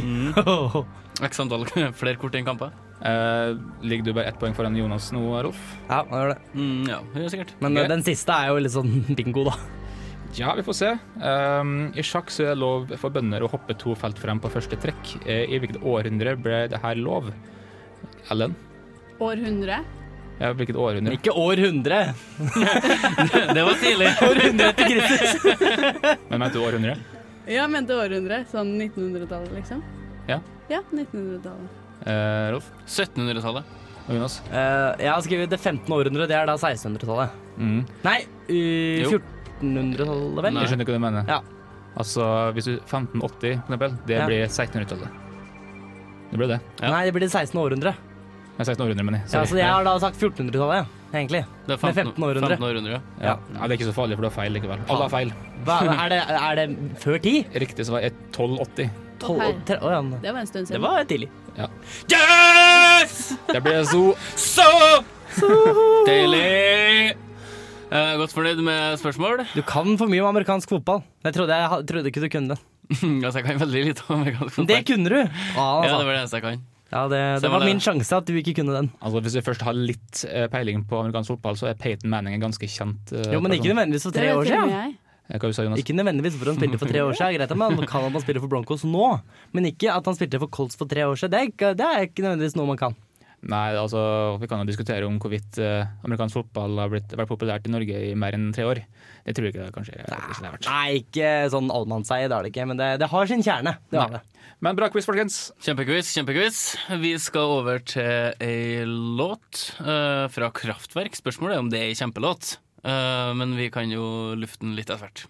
Speaker 4: X antall flere kort enn kamper.
Speaker 5: Eh, ligger du bare ett poeng foran Jonas nå, Rolf?
Speaker 6: ja, det var det.
Speaker 4: Mm, ja, det gjør jeg sikkert.
Speaker 6: Men eh,
Speaker 5: Ok.
Speaker 6: den siste er jo litt sånn bingo, da.
Speaker 5: Ja, vi får se. Um, I sjakk så er det lov for bønder å hoppe to felt frem på første trekk. Eh, I hvilket århundre ble det her lov? Ellen?
Speaker 7: Århundre.
Speaker 5: Ja, hvilket århundre?
Speaker 6: Ikke århundre.
Speaker 4: Det var tidlig.
Speaker 6: Århundre etter Kristus.
Speaker 5: Men mente du århundre?
Speaker 7: Ja, jeg mente århundre. Sånn 1900-tallet, liksom.
Speaker 5: Ja.
Speaker 7: Ja, 1900-tallet.
Speaker 5: Eh, Rolf
Speaker 4: 1700-tallet.
Speaker 5: og Jonas?
Speaker 6: Eh, jeg har skrevet det 15. århundre, det er da 1600-tallet.
Speaker 5: Mm.
Speaker 6: Nei,
Speaker 4: Jo.
Speaker 6: uh, 1400-tallet, vel?
Speaker 4: Nei.
Speaker 5: Jeg skjønner hva du mener.
Speaker 6: Ja.
Speaker 5: Altså, hvis du 1580, for eksempel, det
Speaker 6: Ja.
Speaker 5: blir 1600-tallet. Det blir det.
Speaker 4: Ja.
Speaker 6: Nei, det blir det 16. århundre.
Speaker 5: Nei, 1600, mener jeg.
Speaker 6: Ja,
Speaker 5: Sorry.
Speaker 6: så jeg har da sagt 1400-tallet, egentlig.
Speaker 4: Det er
Speaker 6: Det er
Speaker 4: 15
Speaker 6: 15 århundre.
Speaker 4: 15 århundre.
Speaker 5: ja. ja, det er ikke så farlig, for du har feil likevel. Alle har feil.
Speaker 6: Hva, er, det, er det før 10?
Speaker 5: Riktig svar er 1280.
Speaker 6: Tolv-
Speaker 7: Å,
Speaker 6: tre- å, ja.
Speaker 7: Det var en stund
Speaker 6: Det
Speaker 7: siden.
Speaker 6: var tidlig.
Speaker 4: Yes!
Speaker 5: Det blir så
Speaker 4: Så deilig! Jeg er godt fornøyd med spørsmål.
Speaker 6: Du kan for mye om amerikansk fotball. Jeg trodde, jeg, ha- trodde ikke du kunne det.
Speaker 4: Altså, jeg kan veldig lite om amerikansk
Speaker 6: Men det
Speaker 4: fotball.
Speaker 6: kunne du! Ja,
Speaker 4: Ja, det
Speaker 6: altså.
Speaker 4: var det eneste jeg kan.
Speaker 6: ja, det,
Speaker 4: Så var
Speaker 6: det var
Speaker 4: det-
Speaker 6: min sjanse at du ikke kunne den.
Speaker 5: Altså Hvis du først har litt eh, peiling på amerikansk fotball, så er Peyton Manning en ganske kjent eh,
Speaker 6: Jo, men ikke
Speaker 5: person.
Speaker 6: nødvendigvis for
Speaker 7: Det
Speaker 6: tre
Speaker 7: vet
Speaker 6: år
Speaker 7: til og
Speaker 6: siden.
Speaker 7: med jeg.
Speaker 5: Eh, Hva du sa Jonas?
Speaker 6: Ikke nødvendigvis for han spilte for tre år siden. Greit at man kan at man spiller for Broncos nå, men ikke at han spilte for Colts for tre år siden. Det er ikke, det er ikke nødvendigvis noe man kan.
Speaker 5: Nei, altså Vi kan jo diskutere om hvorvidt eh, amerikansk fotball har blitt, vært populært i Norge i mer enn tre år. Det tror jeg ikke det kanskje ikke det har vært.
Speaker 6: Nei, ikke sånn allmannseie, det er det ikke, men det, det har sin kjerne. Det har det.
Speaker 5: Men bra quiz, folkens!
Speaker 4: Kjempequiz, kjempequiz. Vi skal over til ei låt eh, fra Kraftverk. Spørsmålet er om det er ei kjempelåt, Eh, men vi kan jo lufte den litt etter hvert.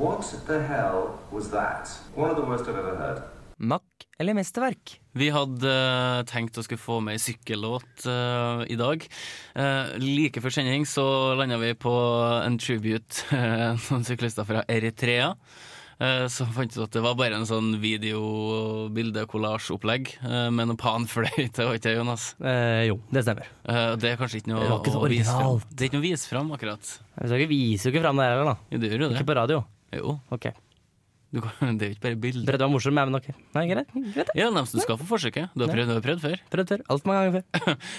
Speaker 10: What the hell was that? Makk eller mesterverk?
Speaker 4: Vi hadde eh, tenkt å skulle få med ei sykkellåt eh, i dag. Eh, like før sending så landa vi på en tribute, eh, noen syklister fra Eritrea. Eh, Så fant vi ut at det var bare en sånn videobildekollasjeopplegg eh, med noe panfløyte. var ikke det, Jonas?
Speaker 6: Eh, jo, det stemmer.
Speaker 4: Eh, Det er kanskje ikke noe
Speaker 6: Det var ikke så
Speaker 4: å vise fram.
Speaker 6: originalt.
Speaker 4: Det er ikke noe å vise fram, akkurat.
Speaker 6: Vi skal ikke vise jo ikke fram det her heller, da.
Speaker 4: Jo, det gjør jo
Speaker 6: Ikke
Speaker 4: det.
Speaker 6: på radio.
Speaker 4: Jo,
Speaker 6: Ok.
Speaker 4: du kan, det er jo ikke bare bilder.
Speaker 6: Prøvde å være morsom, jeg, men ok. Nei, greit. greit det.
Speaker 4: Ja, nei, så du skal få forsøket. Du har prøvd, du har prøvd før.
Speaker 6: Prøvd før. Altfor mange ganger før.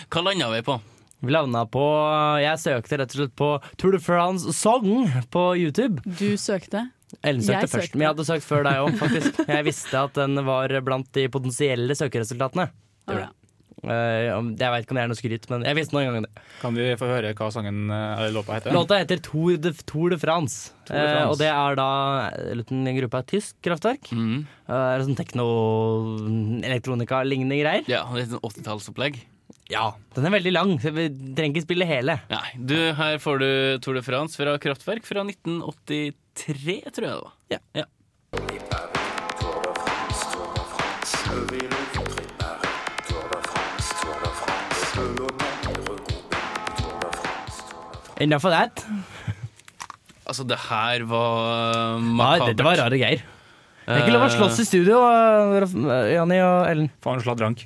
Speaker 4: Hva landa vi på?
Speaker 6: Vi landa på Jeg søkte rett og slett på Tour de France Song på YouTube.
Speaker 7: Du søkte.
Speaker 6: Ellen søkte
Speaker 7: Jeg
Speaker 6: først,
Speaker 7: søkte.
Speaker 6: men jeg hadde søkt før deg òg, faktisk. Jeg visste at den var blant de potensielle søkeresultatene.
Speaker 7: All
Speaker 6: Gjorde
Speaker 7: right.
Speaker 6: Eh, om- jeg veit ikke om det er noe skryt, men jeg visste noen ganger det.
Speaker 5: Kan vi få høre hva sangen eh, eller låta heter?
Speaker 6: Låta heter Tour de, Tour de France,
Speaker 5: de
Speaker 6: Eh,
Speaker 5: France.
Speaker 6: og det er da en liten gruppe av tysk kraftverk.
Speaker 4: Mm.
Speaker 6: Eh, er sånn tekno-elektronika-lignende greier.
Speaker 4: Ja, det er et sånn 80-tallsopplegg.
Speaker 6: Ja, den er veldig lang, så vi trenger ikke spille hele.
Speaker 4: Nei, du, her får du Tour de France fra Kraftverk fra 1983, tror jeg det var.
Speaker 6: Ja. Enda for that.
Speaker 4: Altså, det her var eh,
Speaker 6: Nei,
Speaker 4: makabert.
Speaker 6: dette var rare greier. Det er ikke lov å slåss i studio, eh, Raf- eh, Jani og Ellen.
Speaker 5: Faen sladrank.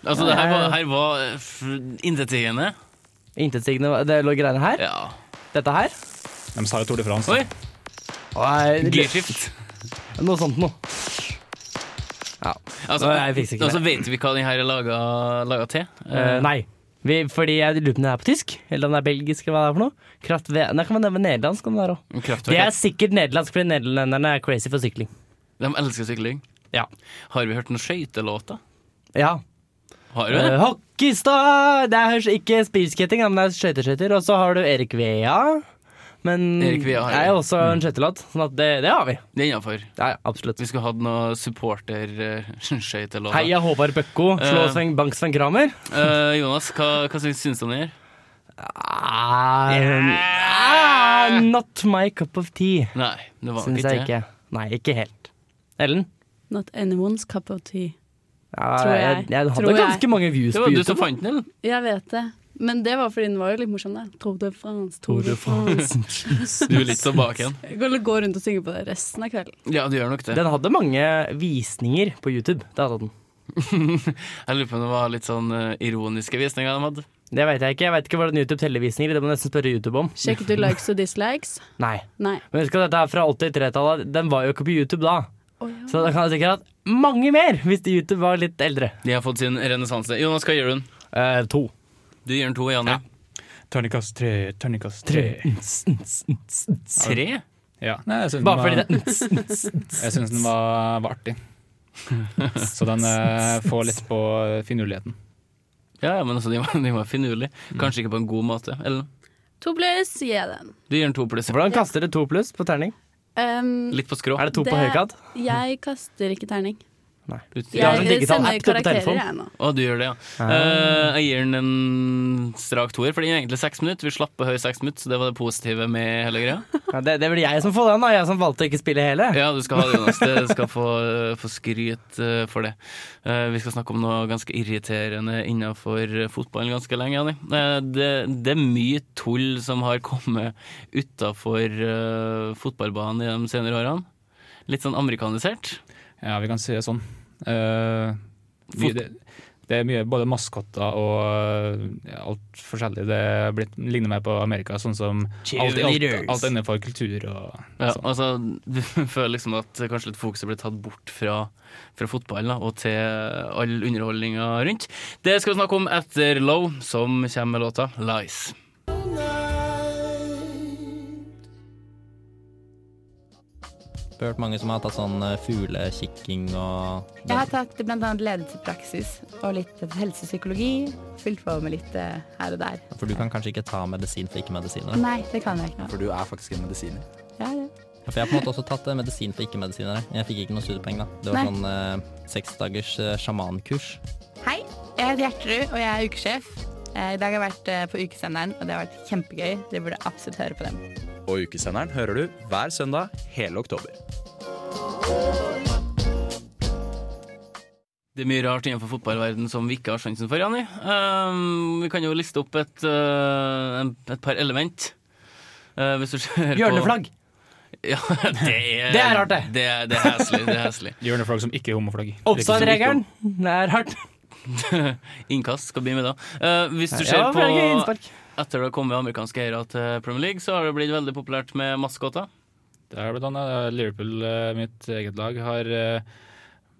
Speaker 4: Altså, det her var, her var eh, f- intetsigende.
Speaker 6: Intetsigende det lå greiene her.
Speaker 4: Ja.
Speaker 6: Dette her.
Speaker 5: De sa jo Tour de France.
Speaker 4: Oi,
Speaker 6: Og er-
Speaker 4: gearskift.
Speaker 6: Noe sånt noe.
Speaker 4: Altså,
Speaker 6: Nei, jeg fikser ikke
Speaker 4: altså, vet vi hva den her er laga, laga til?
Speaker 6: Eh, nei. Vi, fordi jeg lurer på om det er på tysk, eller om det er belgisk, eller hva det er for noe. Kraftve nei, kan man nevne nederlandsk om det her også.
Speaker 4: Eh, Kraftverk.
Speaker 6: Det er sikkert nederlandsk, fordi nederlenderne er crazy for sykling.
Speaker 4: De elsker sykling.
Speaker 6: Ja.
Speaker 4: Har vi hørt noen skøytelåter?
Speaker 6: Ja.
Speaker 4: Har du
Speaker 6: Uh,
Speaker 4: det?
Speaker 6: Hockeystav! Det er hørs- ikke speedskating, men det er skøyteskøyter. Og så har du Erik Vea. Men
Speaker 4: Erik Vea har
Speaker 6: jeg er
Speaker 4: jeg.
Speaker 6: jo også en skøytelåt, sånn at det, det har vi.
Speaker 4: Det er innafor.
Speaker 6: Ja, ja, absolutt.
Speaker 4: Vi skulle hatt eh, noen supporterskøytelåter.
Speaker 6: Heia Håvard Bøkko, slå
Speaker 4: Eh.
Speaker 6: Sven Bank Sven Kramer.
Speaker 4: Eh, Jonas, hva, hva syns, syns du om den her?
Speaker 6: Ah, ah, not my cup of tea,
Speaker 4: Nei, det var
Speaker 6: syns
Speaker 4: nok
Speaker 6: jeg
Speaker 4: ikke det.
Speaker 6: ikke. Nei, ikke helt. Ellen?
Speaker 7: Not anyone's cup of tea.
Speaker 6: Ja,
Speaker 7: Tror jeg.
Speaker 6: jeg, jeg hadde
Speaker 7: Tror jeg.
Speaker 6: ganske mange views
Speaker 4: Det
Speaker 6: på
Speaker 4: var du som
Speaker 6: YouTube.
Speaker 4: fant den, eller?
Speaker 7: Jeg vet det. Men det var fordi den var jo litt morsom, da. Tour de France, Tour de France.
Speaker 4: Du er litt tilbake igjen.
Speaker 7: Jeg kan gå rundt og synge på det resten av kvelden.
Speaker 4: Ja, du gjør nok det.
Speaker 6: Den hadde mange visninger på YouTube. Det hadde den.
Speaker 4: Jeg lurer på om det var litt sånn eh, ironiske visninger de hadde.
Speaker 6: Det vet jeg ikke. Jeg vet ikke hvordan YouTube teller visninger. Det må jeg nesten spørre YouTube om.
Speaker 7: Sjekket du likes og dislikes?
Speaker 6: Nei.
Speaker 7: Nei.
Speaker 6: Men husk at dette er fra 83-tallet. Den var jo ikke på YouTube da.
Speaker 7: Å, ja.
Speaker 6: Så da kan jeg sikkert hatt mange mer hvis YouTube var litt eldre.
Speaker 4: De har fått sin renessanse. Jonas, hva gir du den?
Speaker 6: Eh, to.
Speaker 4: Du gir den to, Janne.
Speaker 5: Tørnikast tre, tørnikast tre.
Speaker 4: Tre?
Speaker 5: Ja. Nei, jeg syns
Speaker 6: Bare fordi
Speaker 5: den, var-
Speaker 6: det
Speaker 5: jeg synes den var, var artig. Så den eh, får litt på finurligheten.
Speaker 4: Ja, ja, men altså, de var, de var finurlige. Kanskje ikke på en god måte. Ellen,
Speaker 7: To pluss, gi jeg den.
Speaker 4: du gir den to pluss.
Speaker 6: Hvordan kaster det to pluss på terning?
Speaker 7: Ehm,
Speaker 4: Litt på skrå.
Speaker 6: Er det to
Speaker 7: Det-
Speaker 6: på høykant?
Speaker 7: jeg kaster ikke terning.
Speaker 4: Ut-
Speaker 6: har sånn
Speaker 7: Jeg
Speaker 6: digital
Speaker 7: sender
Speaker 6: app på
Speaker 7: karakterer,
Speaker 6: telefonen.
Speaker 7: jeg nå.
Speaker 4: Å, du gjør det, ja. Eh, jeg gir den en strak toer, for den er egentlig seks minutter. Vi slapp på høy seks minutter, så det var det positive med hele greia.
Speaker 6: Ja, det, det blir jeg som får den, da. Jeg som valgte å ikke spille hele.
Speaker 4: Ja, du skal ha det, Jonas. Det- Du skal få, få skryt eh, for det. Eh, vi skal snakke om noe ganske irriterende innenfor fotballen ganske lenge, Anni. Eh, det, det er mye tull som har kommet utenfor eh, fotballbanen i de senere årene. Litt sånn amerikanisert.
Speaker 5: Ja, vi kan si det sånn. Eh, mye, det, det er mye både maskotter og eh, alt forskjellig. Det er blitt, ligner mer på Amerika, sånn som alt, alt,
Speaker 6: Cheerleaders.
Speaker 5: alt innenfor kultur og
Speaker 4: Ja, altså, du føler liksom at kanskje litt fokuset blir tatt bort fra, fra fotballen da, og til all underholdninga rundt. Det skal vi snakke om etter Low, som kommer med låta Lies.
Speaker 10: Hørt mange som har tatt sånn eh, fuglekikking og
Speaker 11: Jeg har tatt bl.a. ledelse i praksis og litt helsepsykologi. Fylt på med litt eh, her og der.
Speaker 10: For du kan kanskje ikke ta medisin for ikke-medisiner?
Speaker 11: Nei, det kan jeg ikke.
Speaker 9: For du er faktisk en medisiner.
Speaker 11: Ja, det.
Speaker 10: For jeg har på en måte også tatt eh, medisin for ikke-medisinere. Jeg fikk ikke noen studiepoeng, da. Det var
Speaker 11: Nei.
Speaker 10: sånn eh, seks dagers eh, sjamankurs.
Speaker 11: Hei, jeg heter Gjertrud, og jeg er ukesjef. Eh, I dag har jeg vært eh, på Ukesenderen, og det har vært kjempegøy. Dere burde absolutt høre på dem.
Speaker 9: Og Ukesenderen hører du hver søndag hele oktober.
Speaker 4: Det er mye rart innenfor fotballverden som vi ikke har sjansen for, Jani. Ehm, vi kan jo liste opp et, eh, en- et par element. Eh, hvis du ser på
Speaker 6: Hjørneflagg.
Speaker 4: Ja, det er
Speaker 6: Det er rart, det.
Speaker 4: Det, er- det er heslig. Det er heslig.
Speaker 5: Hjørneflagg som ikke er homoflagg.
Speaker 6: Offside-regelen. Det er hardt.
Speaker 4: Innkast skal bli med, da. Eh, hvis du
Speaker 6: Ja,
Speaker 4: ser
Speaker 6: for det er ikke
Speaker 4: på
Speaker 6: innspark.
Speaker 4: Etter det har kommet amerikanske eiere til Premier League, så har det blitt veldig populært med maskoter.
Speaker 5: Det er blant annet eh, Liverpool, eh, mitt eget lag, har eh,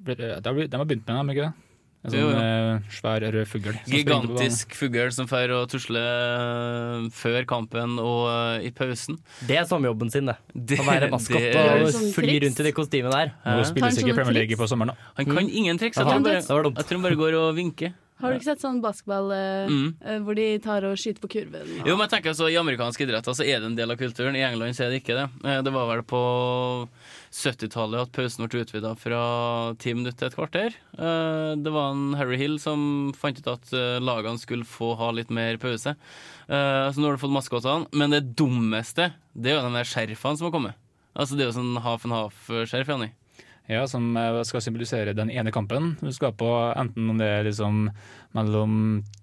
Speaker 5: blitt- eh, det har blitt- De har begynt med det, har de ikke det? En
Speaker 4: Jo,
Speaker 5: sånn
Speaker 4: jo.
Speaker 5: eh, svær rød fugl. som springer på banen.
Speaker 4: Gigantisk fugl som drar og tusler eh, før kampen og eh, i pausen.
Speaker 6: Det er sommerjobben sin, det.
Speaker 4: Det-
Speaker 6: Å være maskott
Speaker 4: det er- Eh,
Speaker 6: og
Speaker 7: Sånn
Speaker 6: fly
Speaker 7: triks.
Speaker 6: rundt i det kostymet der.
Speaker 5: Nå spilles
Speaker 7: Kanskje
Speaker 5: ikke
Speaker 7: noen
Speaker 5: Premier League
Speaker 7: triks?
Speaker 5: på sommeren, da.
Speaker 4: Han kan ingen triks. Jeg
Speaker 7: Aha.
Speaker 4: tror han bare,
Speaker 7: Det
Speaker 6: var dumt.
Speaker 4: jeg tror han bare går og vinker.
Speaker 7: Har du ikke sett sånn basketball eh,
Speaker 4: Mm.
Speaker 7: eh, hvor de tar og skyter på kurven? og-
Speaker 4: Jo, men jeg tenker altså, I amerikansk idrett altså, er det en del av kulturen. I England så er det ikke det. Eh, Det var vel på 70-tallet at pausen ble utvida fra ti minutter til et kvarter. Eh, Det var en Harry Hill som fant ut at eh, lagene skulle få ha litt mer pause. Eh, Så nå har du fått maskotene. Men det dummeste det er jo de der skjerfene som har kommet. Altså, Det er jo sånn half and half-skjerf. Janni.
Speaker 5: Ja, som eh, skal symbolisere den ene kampen du skal på, enten om det er liksom mellom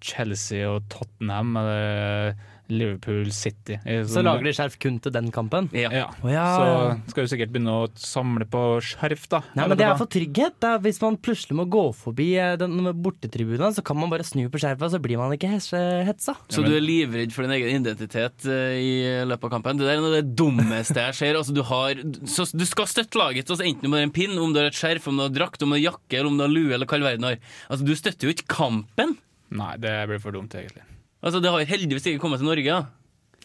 Speaker 5: Chelsea og Tottenham eller Liverpool City. Eh,
Speaker 6: Så
Speaker 5: sånn-
Speaker 6: lager de skjerf kun til den kampen.
Speaker 4: Ja.
Speaker 5: ja.
Speaker 6: Å, ja, ja.
Speaker 5: Så skal du sikkert begynne å samle på skjerf, da.
Speaker 6: Nei,
Speaker 5: Eller
Speaker 6: men Det er
Speaker 5: hva?
Speaker 6: for trygghet. Det er, hvis man plutselig må gå forbi eh, den bortetribunen, så kan man bare snu på skjerfet, så blir man ikke hes- hetsa.
Speaker 4: Så du er livredd for din egen identitet eh, i løpet av kampen. Det der er noe av det dummeste jeg ser. Altså, du, har, så, du skal støtte laget, altså, enten om du har en pinn, om du har et skjerf, om du har drakt, om du har jakke, eller om du har lue, eller hva all verden har. Altså, du støtter jo ikke kampen!
Speaker 5: Nei, det blir for dumt, egentlig.
Speaker 4: Altså, det har heldigvis ikke kommet til Norge da.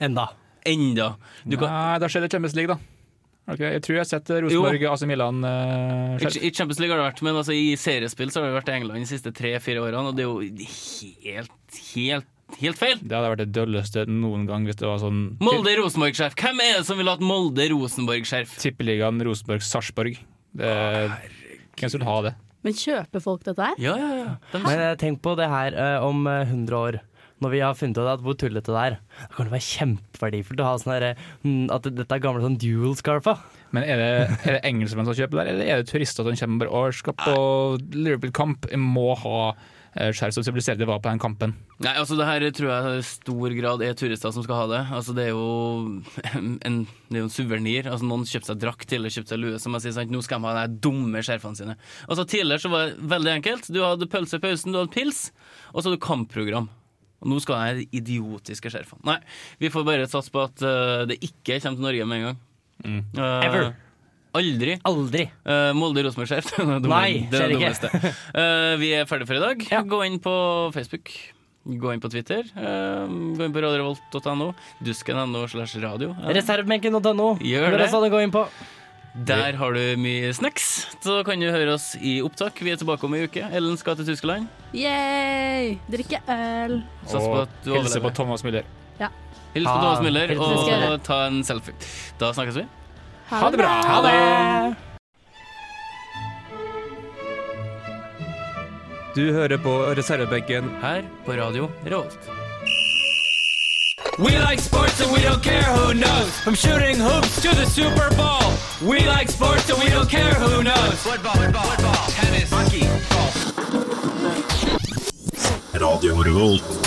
Speaker 6: Enda.
Speaker 4: enda. Du kan,
Speaker 5: Nei, da skjer det Champions League, da. Ok, jeg tror jeg har sett Rosenborg AC Milan eh,
Speaker 4: I
Speaker 5: skjerf.
Speaker 4: i Champions League har det vært, men altså, i seriespill så har det vært i England de siste tre-fire årene, og det er jo helt, helt, helt feil.
Speaker 5: Det hadde vært det dølleste noen gang hvis det var sånn
Speaker 4: Molde-Rosenborg-skjerf. Hvem er det som vil ha et Molde-Rosenborg-skjerf?
Speaker 5: Tippeligaen Rosenborg-Sarpsborg. Det- Hvem som vil ha det?
Speaker 7: Men kjøper folk dette her?
Speaker 4: Ja, ja, ja. De
Speaker 6: Men eh, tenk på det her eh, om eh, 100 år. Når vi har funnet ut at hvor tullete det er. Da kan det være kjempeverdifullt å ha sånn derre, mm, at dette er gamle sånn dual-scarfa.
Speaker 5: Men er det, er det engelskmenn som kjøper der, eller er det turister som kommer og bare «Å, jeg skal på Liverpool-kamp? Jeg må ha eh, skjerf som symboliserer det var på den kampen.
Speaker 4: Nei, altså det her tror jeg i stor grad er turister som skal ha det. Altså Det er jo en, det er jo en suvenir. Altså, noen kjøpte seg drakt, tidligere kjøpte seg lue. Som jeg sier, sant? Nå skal de ha de her dumme skjerfene sine. Altså Tidligere så var det veldig enkelt. Du hadde pølse i pausen, du hadde pils, og så hadde du kampprogram. Og nå skal de her idiotiske skjerfene. Nei, vi får bare satse på at eh, det ikke kommer til Norge med en gang. Eh,
Speaker 6: Ever.
Speaker 4: Aldri.
Speaker 6: Aldri.
Speaker 4: Eh, Molde Rosenborg-skjerf. Det er det
Speaker 6: Nei,
Speaker 4: dumme- det er det
Speaker 6: skjer
Speaker 4: dummeste. Eh, vi er ferdige for i dag. Gå inn på Facebook. Gå inn på Twitter. eh, gå inn på radiorevolt.no. Dusken.no slash radio. Eh,
Speaker 6: Reservebenken.no.
Speaker 4: Gjør
Speaker 6: Hvor
Speaker 4: det.
Speaker 6: også det går inn på.
Speaker 4: der har du mye snacks. Så kan du høre oss i opptak. Vi er tilbake om ei uke. Ellen skal til Tyskland.
Speaker 7: Yay! Drikke øl.
Speaker 4: Sats på
Speaker 5: Og
Speaker 4: at du
Speaker 5: hilse på
Speaker 4: overlever.
Speaker 5: Thomas Müller.
Speaker 4: Hils på Thomas Müller,
Speaker 6: Hils Ah, på
Speaker 7: Thomas Müller.
Speaker 4: og ta en selfie. Da snakkes vi.
Speaker 7: Ha det bra!
Speaker 6: Ha det!
Speaker 9: Du hører på reservebenken
Speaker 4: Her på Radio Revolt.
Speaker 2: We like sports and we don't care who knows. From shooting hoops to the Super Bowl. We like sports and we don't care who knows. Football, football, football tennis, hockey, golf.
Speaker 12: Radio Revolt.